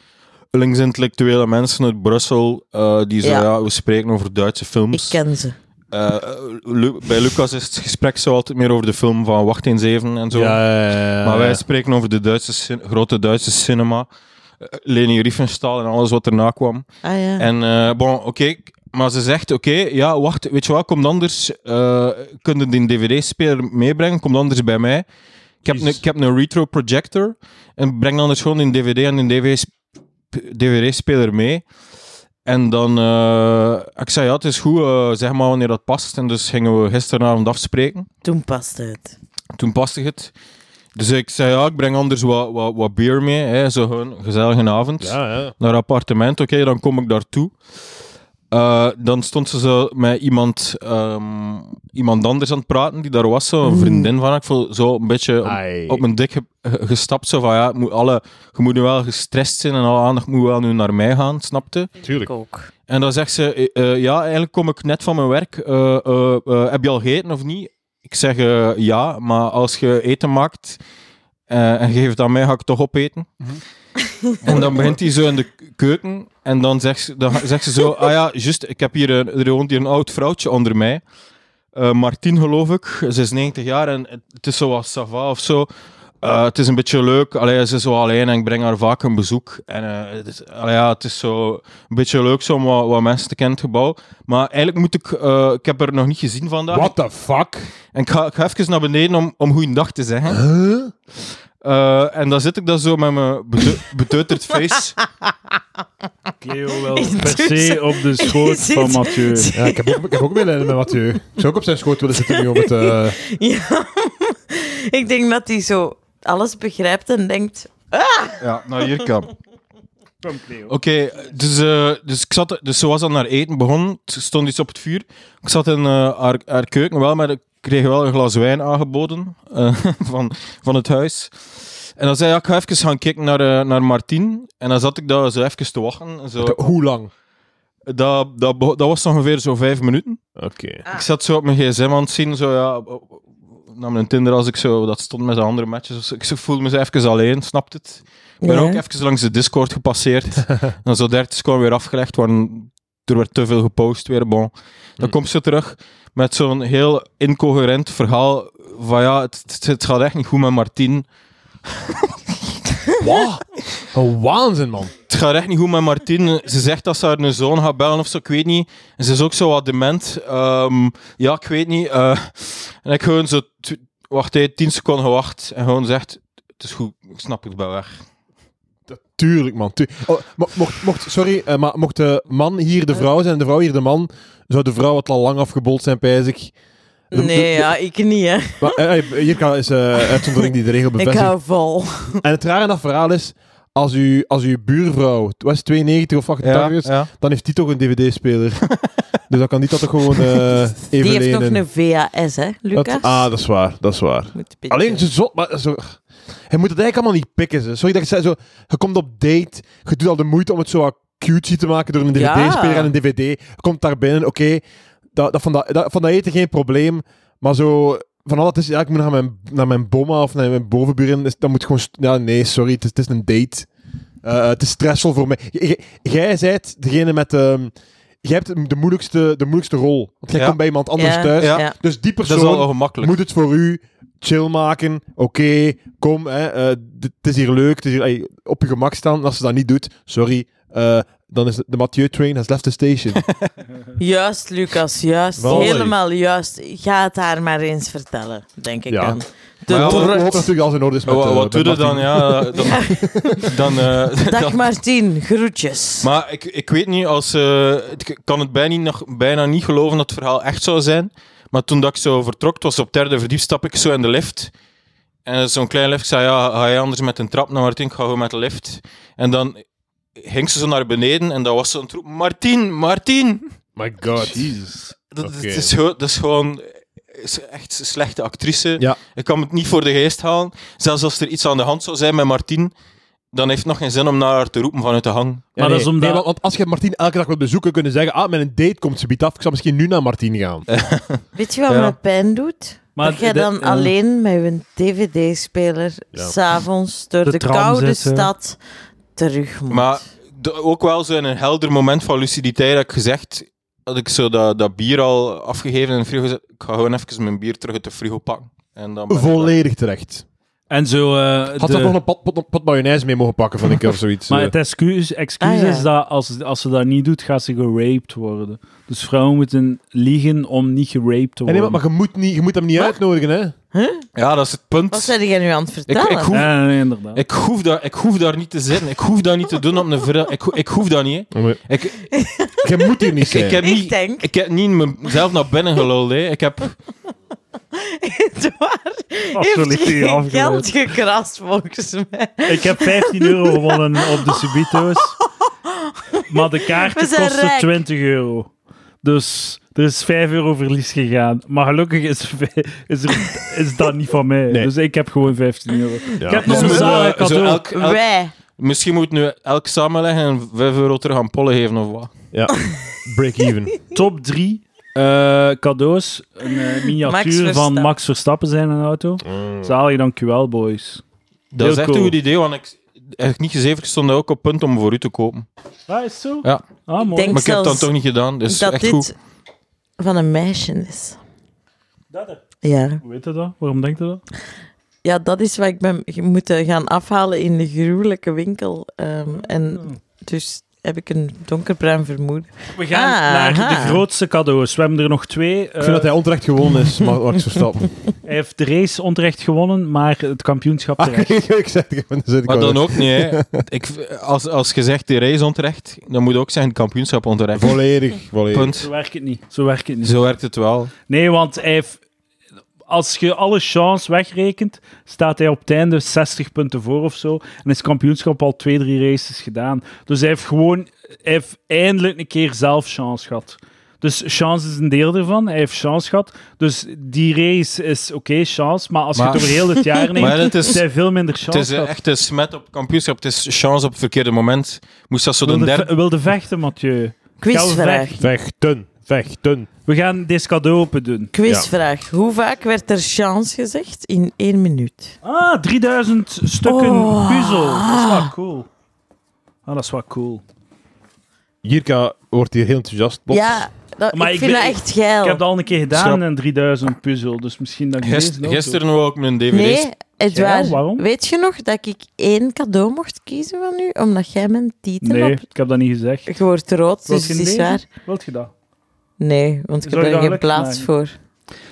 linksintellectuele mensen uit Brussel. eh, die zo, Ja. ja. we spreken over Duitse Ik films. ken ze. Eh, Lu- bij Lucas is het gesprek zo altijd meer over de film van Wacht eens even en zo. Maar wij spreken over de Duitse cin- grote Duitse cinema. eh, Leni Riefenstahl en alles wat erna kwam. Ah ja. En eh, bon, oké. k- maar ze zegt, oké, ja, wacht, weet je wat, komt anders. eh kunnen die dvd-speler meebrengen, komt anders bij mij. Ik heb, een, ik heb een retro projector en breng anders gewoon een dvd en een dvd-speler mee. En dan, eh, ik zei, ja, het is goed, eh, zeg maar wanneer dat past. En dus gingen we gisteravond afspreken Toen paste het. toen paste het. Dus ik zei, ja, ik breng anders wat, wat, wat bier mee. Hè. Zo gewoon een gezellige avond. Ja, ja. Naar appartement, oké, dan kom ik daartoe. Eh, dan stond ze zo met iemand, ehm, iemand anders aan het praten, die daar was, zo, een vriendin van haar. Ik voel zo een beetje op, Ai. op mijn dik ge- ge- gestapt. Zo van, ja, het moet alle, je moet nu wel gestrest zijn en alle aandacht moet wel nu naar mij gaan, snapte? Tuurlijk. Ik ook. En dan zegt ze: eh, eh, Ja, eigenlijk kom ik net van mijn werk. Eh, eh, eh, heb je al gegeten of niet? Ik zeg eh, ja, maar als je eten maakt eh, en geef het aan mij, ga ik het toch opeten. En dan begint hij zo in de keuken en dan zegt, ze- dan zegt ze zo, ah ja, juist, ik heb hier een, er woont hier een oud vrouwtje onder mij. Eh Martien geloof ik, ze is 90 jaar en het is zo als Sava of zo. Eh, het is een beetje leuk, allee, ze is zo alleen en ik breng haar vaak een bezoek. En eh, het, is, allee, ja, het is zo een beetje leuk zo om wat, wat mensen te kennen in het gebouw. Maar eigenlijk moet ik, eh, ik heb er nog niet gezien vandaag. What the fuck? En ik ga, ik ga even naar beneden om, om goeiedag te zeggen. Eh, en dan zit ik dan zo met mijn bete- beteuterd face. Cleo wel per se op de schoot Intussen- van Mathieu. Ja, ik, heb ook, ik heb ook medelijden met Mathieu. Ik zou ook op zijn schoot willen zitten nu om het... eh, Ja. ik denk dat hij zo alles begrijpt en denkt... Ja, naar hier kan. Kom, Cleo. Oké, dus, eh, dus, ik zat, dus ze was al naar eten begonnen. Er stond iets op het vuur. Ik zat in eh, haar, haar keuken wel, maar ik kreeg wel een glas wijn aangeboden eh, van, van het huis. En dan zei ik, ja, ik ga even gaan kijken naar, eh, naar Martien. En dan zat ik daar zo even te wachten. Zo. Hoe lang? Dat, dat, begon- dat was ongeveer zo vijf minuten. Oké. Ik zat zo op mijn gsm aan het zien, zo ja, nam een Tinder als ik zo, dat stond met de andere matches. of zo. Ik zo voelde me zo even alleen, snapt het? Ik ben Ja. ook even langs de Discord gepasseerd. en zo 30 seconden weer afgelegd, waren, er werd te veel gepost weer, bon. Dan Hm. komt ze terug met zo'n heel incoherent verhaal van ja, het, het- het gaat echt niet goed met Martien. Wat? Een waanzin, man. Het gaat echt niet goed met Martien. Ze zegt dat ze haar een zoon gaat bellen of zo, ik weet niet. En ze is ook zo wat dement. Ehm, ja, ik weet niet. eh. en ik gewoon zo, tw- wacht even, tien seconden gewacht. En gewoon zegt, het is goed, ik snap het wel weg. Tuurlijk, man. tu- Oh, mo- mocht, mocht, sorry, eh, maar mocht de man hier de vrouw zijn en de vrouw hier de man, zou de vrouw het al lang afgebold zijn, pijs ik. De- de- Nee, ja, ik niet, hè. Maar, eh, eh, hier kan, is eh uitzondering die de regel Ik bevestigt. hou vol. En het rare aan dat verhaal is, als, u, als uw buurvrouw het was 92 of 88 is, ja. dan heeft die toch een dvd-speler. dus dan kan die dat toch gewoon eh even Die heeft nog lenen. een VHS, hè, Dat- Lucas? ah, dat is waar, dat is waar. Moet een beetje- Alleen zo zot, maar zo... Hij moet het eigenlijk allemaal niet pikken. Ze. Sorry dat ik zei zo... Je komt op date, je doet al de moeite om het zo wat cutesy te maken door een Ja. dvd-speler en een dvd. Je komt daar binnen, oké, dat, dat van, dat, dat- van dat eten geen probleem, maar zo... Van al dat is, ja, ik moet naar mijn, naar mijn boma of naar mijn bovenburen, dus dat moet gewoon... st- Ja, nee, sorry, het is, het is een date. Eh, het is stressvol voor mij. J- j- Jij zijt degene met... ehm, jij hebt de moeilijkste, de moeilijkste rol. Want jij Ja. komt bij iemand anders Ja, thuis. Ja. Dus die Dat persoon is al ongemakkelijk. moet het voor u chill maken. Oké, kom. hè, eh, dit- het is hier leuk. Het is hier, ey, op je gemak staan. En als ze dat niet doet, sorry. eh, dan is de Mathieu train has left the station. Juist, Lucas, juist. Wel, Helemaal juist. Ga het haar maar eens vertellen, denk ik Ja. dan. De Maar ja, We wat- hopen dorst. natuurlijk alles in orde is met Wa- eh, wat met doe je dan? Martien. Ja, dan, dan, eh, Dag dan- Martien, groetjes. Maar ik, ik weet niet, als, eh, ik kan het bijna, nog, bijna niet geloven dat het verhaal echt zou zijn. Maar toen dat ik zo vertrok, het was op het derde verdiep, stap ik zo in de lift. En zo'n klein lift, ik zei, ja, ga jij anders met een trap naar Martien? Ik ga gewoon met de lift. En dan ging ze zo naar beneden en dat was zo'n troep. Martien, Martien! My god. Jesus. Dat, dat Oké. is, gewoon- dat is gewoon is echt een slechte actrice. Ja. Ik kan het niet voor de geest halen. Zelfs als er iets aan de hand zou zijn met Martien, dan heeft het nog geen zin om naar haar te roepen vanuit de hang. Ja, dat nee. is omdat- Nee, want, want als je Martien elke dag wilt bezoeken, kunnen zeggen: Ah, met een date komt ze biedt af. Ik zou misschien nu naar Martien gaan. Eh, Weet je wat Ja. me pijn doet? Maar dat jij de- eh, dan ja. alleen met je dvd-speler Ja. s'avonds door De de, tram koude zitten. stad terug moet. Maar d- ook wel zo in een helder moment van luciditeit had ik gezegd, had ik zo dat, dat bier al afgegeven in de frigo gezet. Ik ga gewoon even mijn bier terug uit de frigo pakken. En dan ben ik klaar. Volledig terecht. En zo... eh, Had de- ze nog een pot, pot, pot mayonaise mee mogen pakken van een keer of zoiets. Maar eh. het excuus, excuus Ah, ja. is dat als, als ze dat niet doet, gaat ze geraped worden. Dus vrouwen moeten liegen om niet geraped te En worden. nee, maar, maar je, moet niet, je moet hem niet uitnodigen, hè? Ja, dat is het Wat punt. zijn jij nu aan het Ik, vertellen? ik, hoef, Ja, nee, inderdaad. ik, hoef daar, ik hoef daar niet te zitten. Ik hoef dat niet te doen op een vrijdag. Ik, ho- ik hoef dat niet. hè. Ik, Je moet hier niet zijn. ik heb Ik niet... denk, Ik heb niet mezelf naar binnen geluld. Hè. Ik heb, Edouard Absoluut heeft niet geen afgeleid. geld gekrast, volgens mij. Ik heb 15 euro gewonnen op de Subito's. Maar de We kaarten zijn kosten rijk. 20 euro. Dus er is 5 euro verlies gegaan. Maar gelukkig is, is, er- is dat niet van mij. Nee. Dus ik heb gewoon 15 euro. Ik heb Dus nog een we- zalig we- zo cadeau. elk- elk- Wij. misschien moet ik nu elk samenleggen en 5 euro terug aan Pollen geven of wat. Break even. Top 3 cadeaus. Een eh, miniatuur van Verstappen. Mm. Max Verstappen zijn een auto. Zalig, dankjewel boys. Dat Heel is echt cool. een goed idee, want ik, echt niet gezeven, ik stond ook op punt om voor u te kopen. Ah, is zo? Ja. Ah, mooi. denk- Maar ik heb het dan zelfs toch niet gedaan, dus dat echt dit goed. van een meisje is. Dat, hè. Ja. Hoe weet je dat? Waarom denkt je dat? ja, dat is wat ik ben ge- moeten gaan afhalen in de gruwelijke winkel. Oh. ehm, en dus heb ik een donkerbruin vermoeden. We gaan Ah, naar aha. de grootste cadeaus. We hebben er nog twee. Ik Eh, vind dat hij onterecht gewonnen is, maar Max Verstappen. Hij heeft de race onterecht gewonnen, maar het kampioenschap Ah, terecht. ik zeg het gewoon. dan zit ik Maar wel dan ook niet, hè. Ik, als, als je zegt, die race onterecht, dan moet je ook zeggen, het kampioenschap onterecht. Volledig, volledig. Punt. Zo werkt het niet. Zo werkt het niet. Zo werkt het wel. Nee, want hij heeft- als je alle chance wegrekent, staat hij op het einde 60 punten voor of zo. En is het kampioenschap al twee, drie races gedaan. Dus hij heeft gewoon hij heeft eindelijk een keer zelf chance gehad. Dus chance is een deel ervan. Hij heeft chance gehad. Dus die race is oké, chance. Maar als je Maar- het over heel het jaar neemt, Maar het is- heeft hij veel minder Het is chance eh, gehad. echt een smet op kampioenschap. Het is chance op het verkeerde moment. Moest dat zo de Wilde, derde... ve- wilde vechten, Mathieu. Quizvraag. vechten. Vechten, vechten. We gaan dit cadeau open doen. Quizvraag. Hoe vaak werd er chance gezegd in één minuut? Ah, 3000 stukken Oh. puzzel. Dat is wel cool. Ah, dat is wel cool. Jirka wordt hier heel enthousiast. plots. Ja, dat, Maar ik, ik vind ben- dat echt geil. Ik heb dat al een keer gedaan, Schrap. een 3000 puzzel. Dus misschien dat ik Gist- deze nog gisteren wou ik mijn dvd's... Nee, Edouard, Geil, waarom? weet je nog dat ik één cadeau mocht kiezen van u? Omdat jij mijn titel doe. Nee, op... ik heb dat niet gezegd. Je wordt rood, Wil dus je het niet is lezen? waar. Wilt je dat? Nee, want ik Zou heb je dat er geen leuk plaats maken? voor.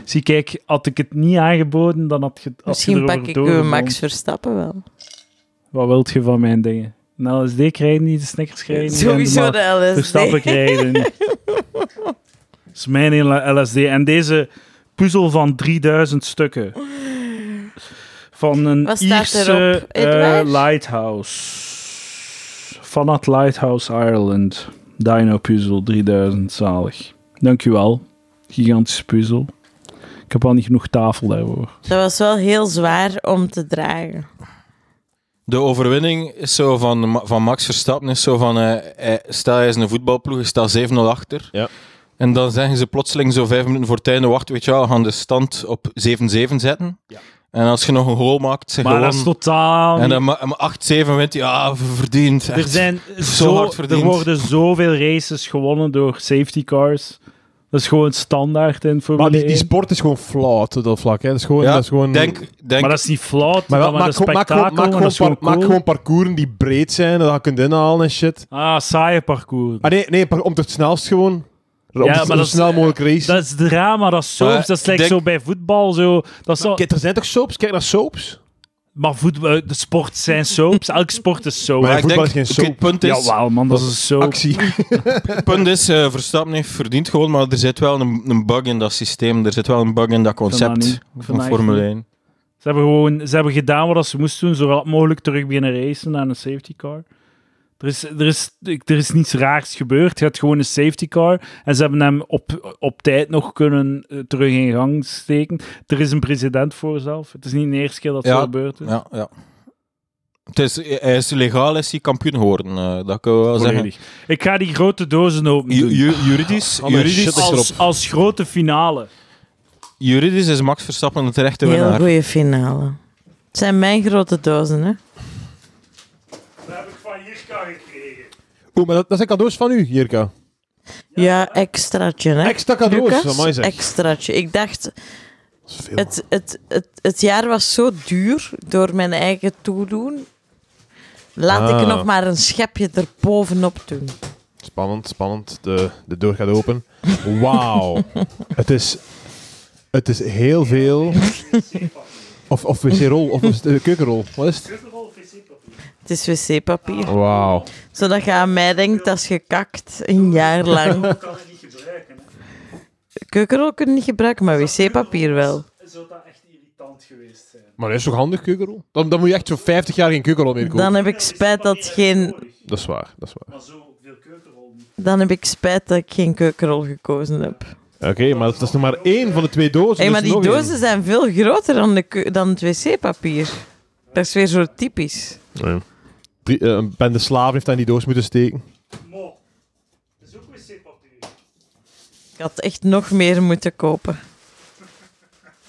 Zie, kijk, had ik het niet aangeboden, dan had je had je Misschien erover pak ik uw doorgevonden. Max Verstappen wel. Wat wilt je van mijn dingen? Een LSD krijgen niet, de Snickers krijgen niet. en de Sowieso Mac- de LSD. Verstappen krijgen niet. Dat is mijn hele LSD. En deze puzzel van 3000 stukken. Van een Wat staat Ierse erop, eh, Edouard? lighthouse. Van het Lighthouse Ireland. Dino puzzel 3000, zalig. Dankjewel. Gigantische puzzel. Ik heb al niet genoeg tafel daarvoor. Dat was wel heel zwaar om te dragen. De overwinning is zo van, Ma- van Max Verstappen is zo van... eh, hij- stel, hij is een voetbalploeg, hij staat 7-0 achter. Ja. En dan zeggen ze plotseling zo vijf minuten voor het einde... Wacht, weet je wel, we gaan de stand op 7-7 zetten. En als je nog een goal maakt, zeg Maar dat is gewoon... totaal. En niet- dan ma- ma- 8-7 wint hij. Ja, verdiend. er, echt. zijn zo, hard verdiend. er worden zoveel races gewonnen door safety cars. Dat is gewoon standaard in Formule Maar die, die 1. sport is gewoon flauw op dat vlak. Hè. Dat is gewoon... Ja, dat is gewoon Denk, denk, Maar dat is niet flauw, Maar wel, dan maak, met een gewoon- maak, gewoon, spektakel. en maak, gewoon dat is gewoon par- maak cool. gewoon parcoursen die breed zijn, dat je kunt inhalen en shit. Ah, saaie parcours. Ah nee, nee par- om het snelst gewoon. Om Ja, te- maar om zo dat is- snel mogelijk race. Dat is drama, dat is soaps. Maar dat is like denk- zo bij voetbal. Zo. Dat is al... Kijk, er zijn toch soaps? Kijk naar soaps? Maar voetbal, de sport zijn soaps. Elke sport is soap. Maar maar Ja, ik voetbal denk, is geen oké, soap. het punt is, Jawel, man, dat is een soap. Actie. het punt is eh, Verstappen heeft verdiend gewoon, maar er zit wel een, een bug in dat systeem. Er zit wel een bug in dat vind dat concept niet. Ik vind dat van echt Formule niet. 1. Ze hebben gewoon ze hebben gedaan wat ze moesten doen. Zo rap mogelijk terug beginnen racen aan een safety car. Er is, er, is, ik- er is niets raars gebeurd. Je had gewoon een safety car. En ze hebben hem op, op tijd nog kunnen eh, terug in gang steken. Er is een president voor zelf. Het is niet de eerste keer dat zo Ja, gebeurd is. Ja, ja. Het is, hij is legaal is hij kampioen geworden, eh, dat kunnen we wel zeggen. Volledig. Ik ga die grote dozen open Ju- doen. ju- juridisch, Alle juridisch, shit is erop. Als, als grote finale. juridisch is Max Verstappen de terechte Heel winnaar. goede finale. Het zijn mijn grote dozen, hè? Dat heb ik van Jirka gekregen. Oeh, maar dat, dat zijn cadeaus van u, Jirka. Ja, extraatje, hè? Extra cadeaus. Lucas? Amai, zeg. Extraatje. Ik dacht, Dat is veel. het, het, het, het jaar was zo duur door mijn eigen toedoen. Laat ik Ah. nog maar een schepje erbovenop doen. Spannend, spannend. De, de deur gaat open. Wauw. het, is, het is heel veel. Of, of wc-rol, of is het, eh, keukenrol. Wat is het? Het is Oh. wc-papier. Wauw. Zodat je aan mij denkt dat is gekakt. Een jaar lang. Ik kan het niet gebruiken. Keukenrol kun je niet gebruiken, maar wc-papier wel. Zou dat echt irritant geweest zijn? Maar dat is toch handig, keukenrol? Dan, dan moet je echt zo 50 jaar geen keukenrol meer kopen. Dan heb ik spijt dat geen, Dat is waar, dat is waar. Maar zoveel keukenrol niet. dan heb ik spijt dat ik geen keukenrol gekozen heb. Oké, maar dat is nog maar één van de twee dozen. Hey, dus maar die nog één. dozen zijn veel groter dan, de, keu- dan het wc-papier. Dat is weer zo typisch. Drie- eh, een bende slaven heeft aan die doos moeten steken. Mo, dat is ook wc-papier. Ik had echt nog meer moeten kopen.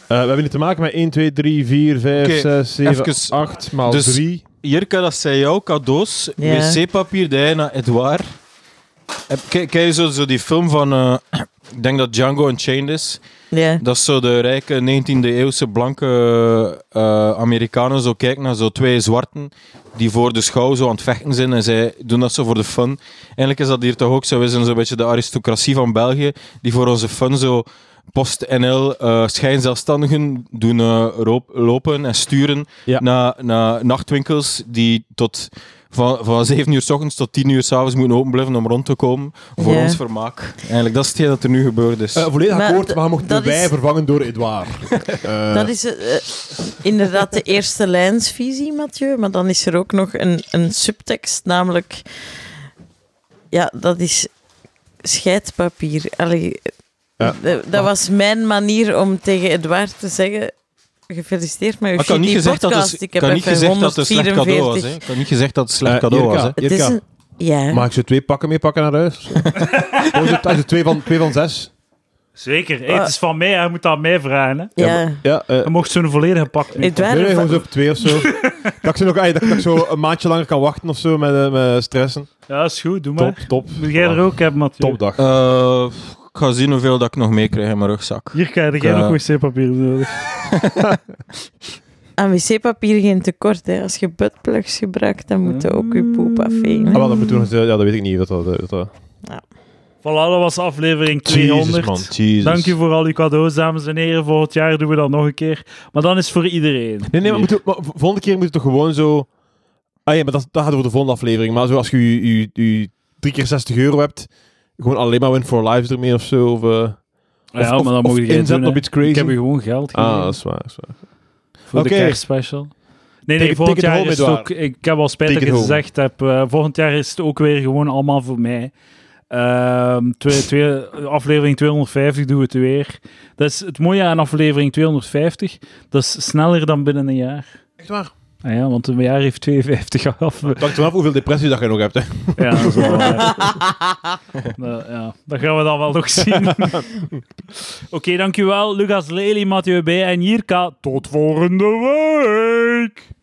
Eh, we hebben hier te maken met 1, 2, 3, 4, 5, Oké, 6, 7, even- 8 maal dus- 3. Jirka, dat zijn jouw cadeaus. Ja. Wc-papier, Diana, Edouard. Heb- Kijk kijk je zo, zo die film van... eh, ik denk dat Django Unchained is. Ja. Dat is zo de rijke 19e-eeuwse blanke eh, Amerikanen zo kijken naar zo twee zwarten die voor de schouw zo aan het vechten zijn en zij doen dat zo voor de fun. Eigenlijk is dat hier toch ook zo, we zijn zo'n beetje de aristocratie van België die voor onze fun zo post-NL eh schijnzelfstandigen doen eh, roop- lopen en sturen Ja. naar, naar nachtwinkels die tot van, van 7 uur s ochtends tot 10 uur s avonds moeten openblijven om rond te komen voor Ja. ons vermaak. Eigenlijk, dat is hetgeen dat er nu gebeurd is. Eh, volledig Maar akkoord, d- maar je mocht de dat wij is- vervangen door Edouard. Eh, Dat is eh, eh, inderdaad de eerste lijnsvisie, Mathieu. Maar dan is er ook nog een, een subtekst, namelijk... Ja, dat is scheidpapier. Allee, Ja. d- dat was mijn manier om tegen Edouard te zeggen... Gefeliciteerd met uw Maar Ah, ik had niet shitty gezegd dat podcast. het, ik ik heb had niet even gezegd dat het een slecht cadeau was. 144. Hè. Ik had niet gezegd dat het een slecht Eh, cadeau was. Jirka, Hè. Het is Jirka. een... Ja. Mag ik ze twee pakken meepakken naar huis? Hoe is het? Als het twee van, twee van zes? Zeker. Ah. Hey, het is van mij, hij moet dat aan mij vragen. Hè. ja. Ja, eh, Hij mocht zo'n volledige pak mee. Edouard, nee, nee, va- gewoon zo op twee of zo. dat, ik ze nog, ah, dat, dat ik zo een maandje langer kan wachten of zo met, eh, met stressen. Ja, is goed, doe Top, maar. top. Moet jij er ook hebben, Mathieu? Topdag. Eh, ik ga zien hoeveel dat ik nog meekrijg in mijn rugzak. Hier krijg jij Ja. eh, nog wc-papier nodig. aan wc-papier geen tekort. Hè. Als je buttplugs gebruikt, dan moet je ook je poep afvegen. Ah, hè. wel, dat moeten we nog eens, eh, ja, dat weet ik niet. Dat, dat, dat, dat. Voilà, dat was aflevering 200. Jesus. Dank u voor al uw cadeaus, dames en heren. Volgend jaar doen we dat nog een keer. Maar dan is het voor iedereen. Nee, nee, maar, moeten we- maar v- volgende keer moeten we toch gewoon zo... Ah ja, maar dat, dat gaat over de volgende aflevering. Maar zo als je je, je, je drie keer 60 euro hebt, gewoon alleen maar Win for Lives ermee of zo. Of, eh, ja, of- maar dan of mogen jij inzetten doen, hè. op iets crazy. Ik heb je gewoon geld gegeven ah, dat is waar. Dat is waar. voor oké. de kerstspecial. Nee, nee, Take- volgend take it jaar home, is het Edouard. ook... Ik heb al spijt dat Take ik het it home. gezegd heb. eh, volgend jaar is het ook weer gewoon allemaal voor mij. Ehm, twee, twee, aflevering 250 doen we het weer. Dat is het mooie aan aflevering 250. Dat is sneller dan binnen een jaar. Echt waar? Ah ja, want een jaar heeft 52 af. Dank je wel hoeveel depressie dat je nog hebt. Hè. Ja, dat is wel waar. Nou, ja, dat gaan we dan wel nog zien. Oké, dankjewel. Lucas Lely, Mathieu B. en Jirka. Tot volgende week!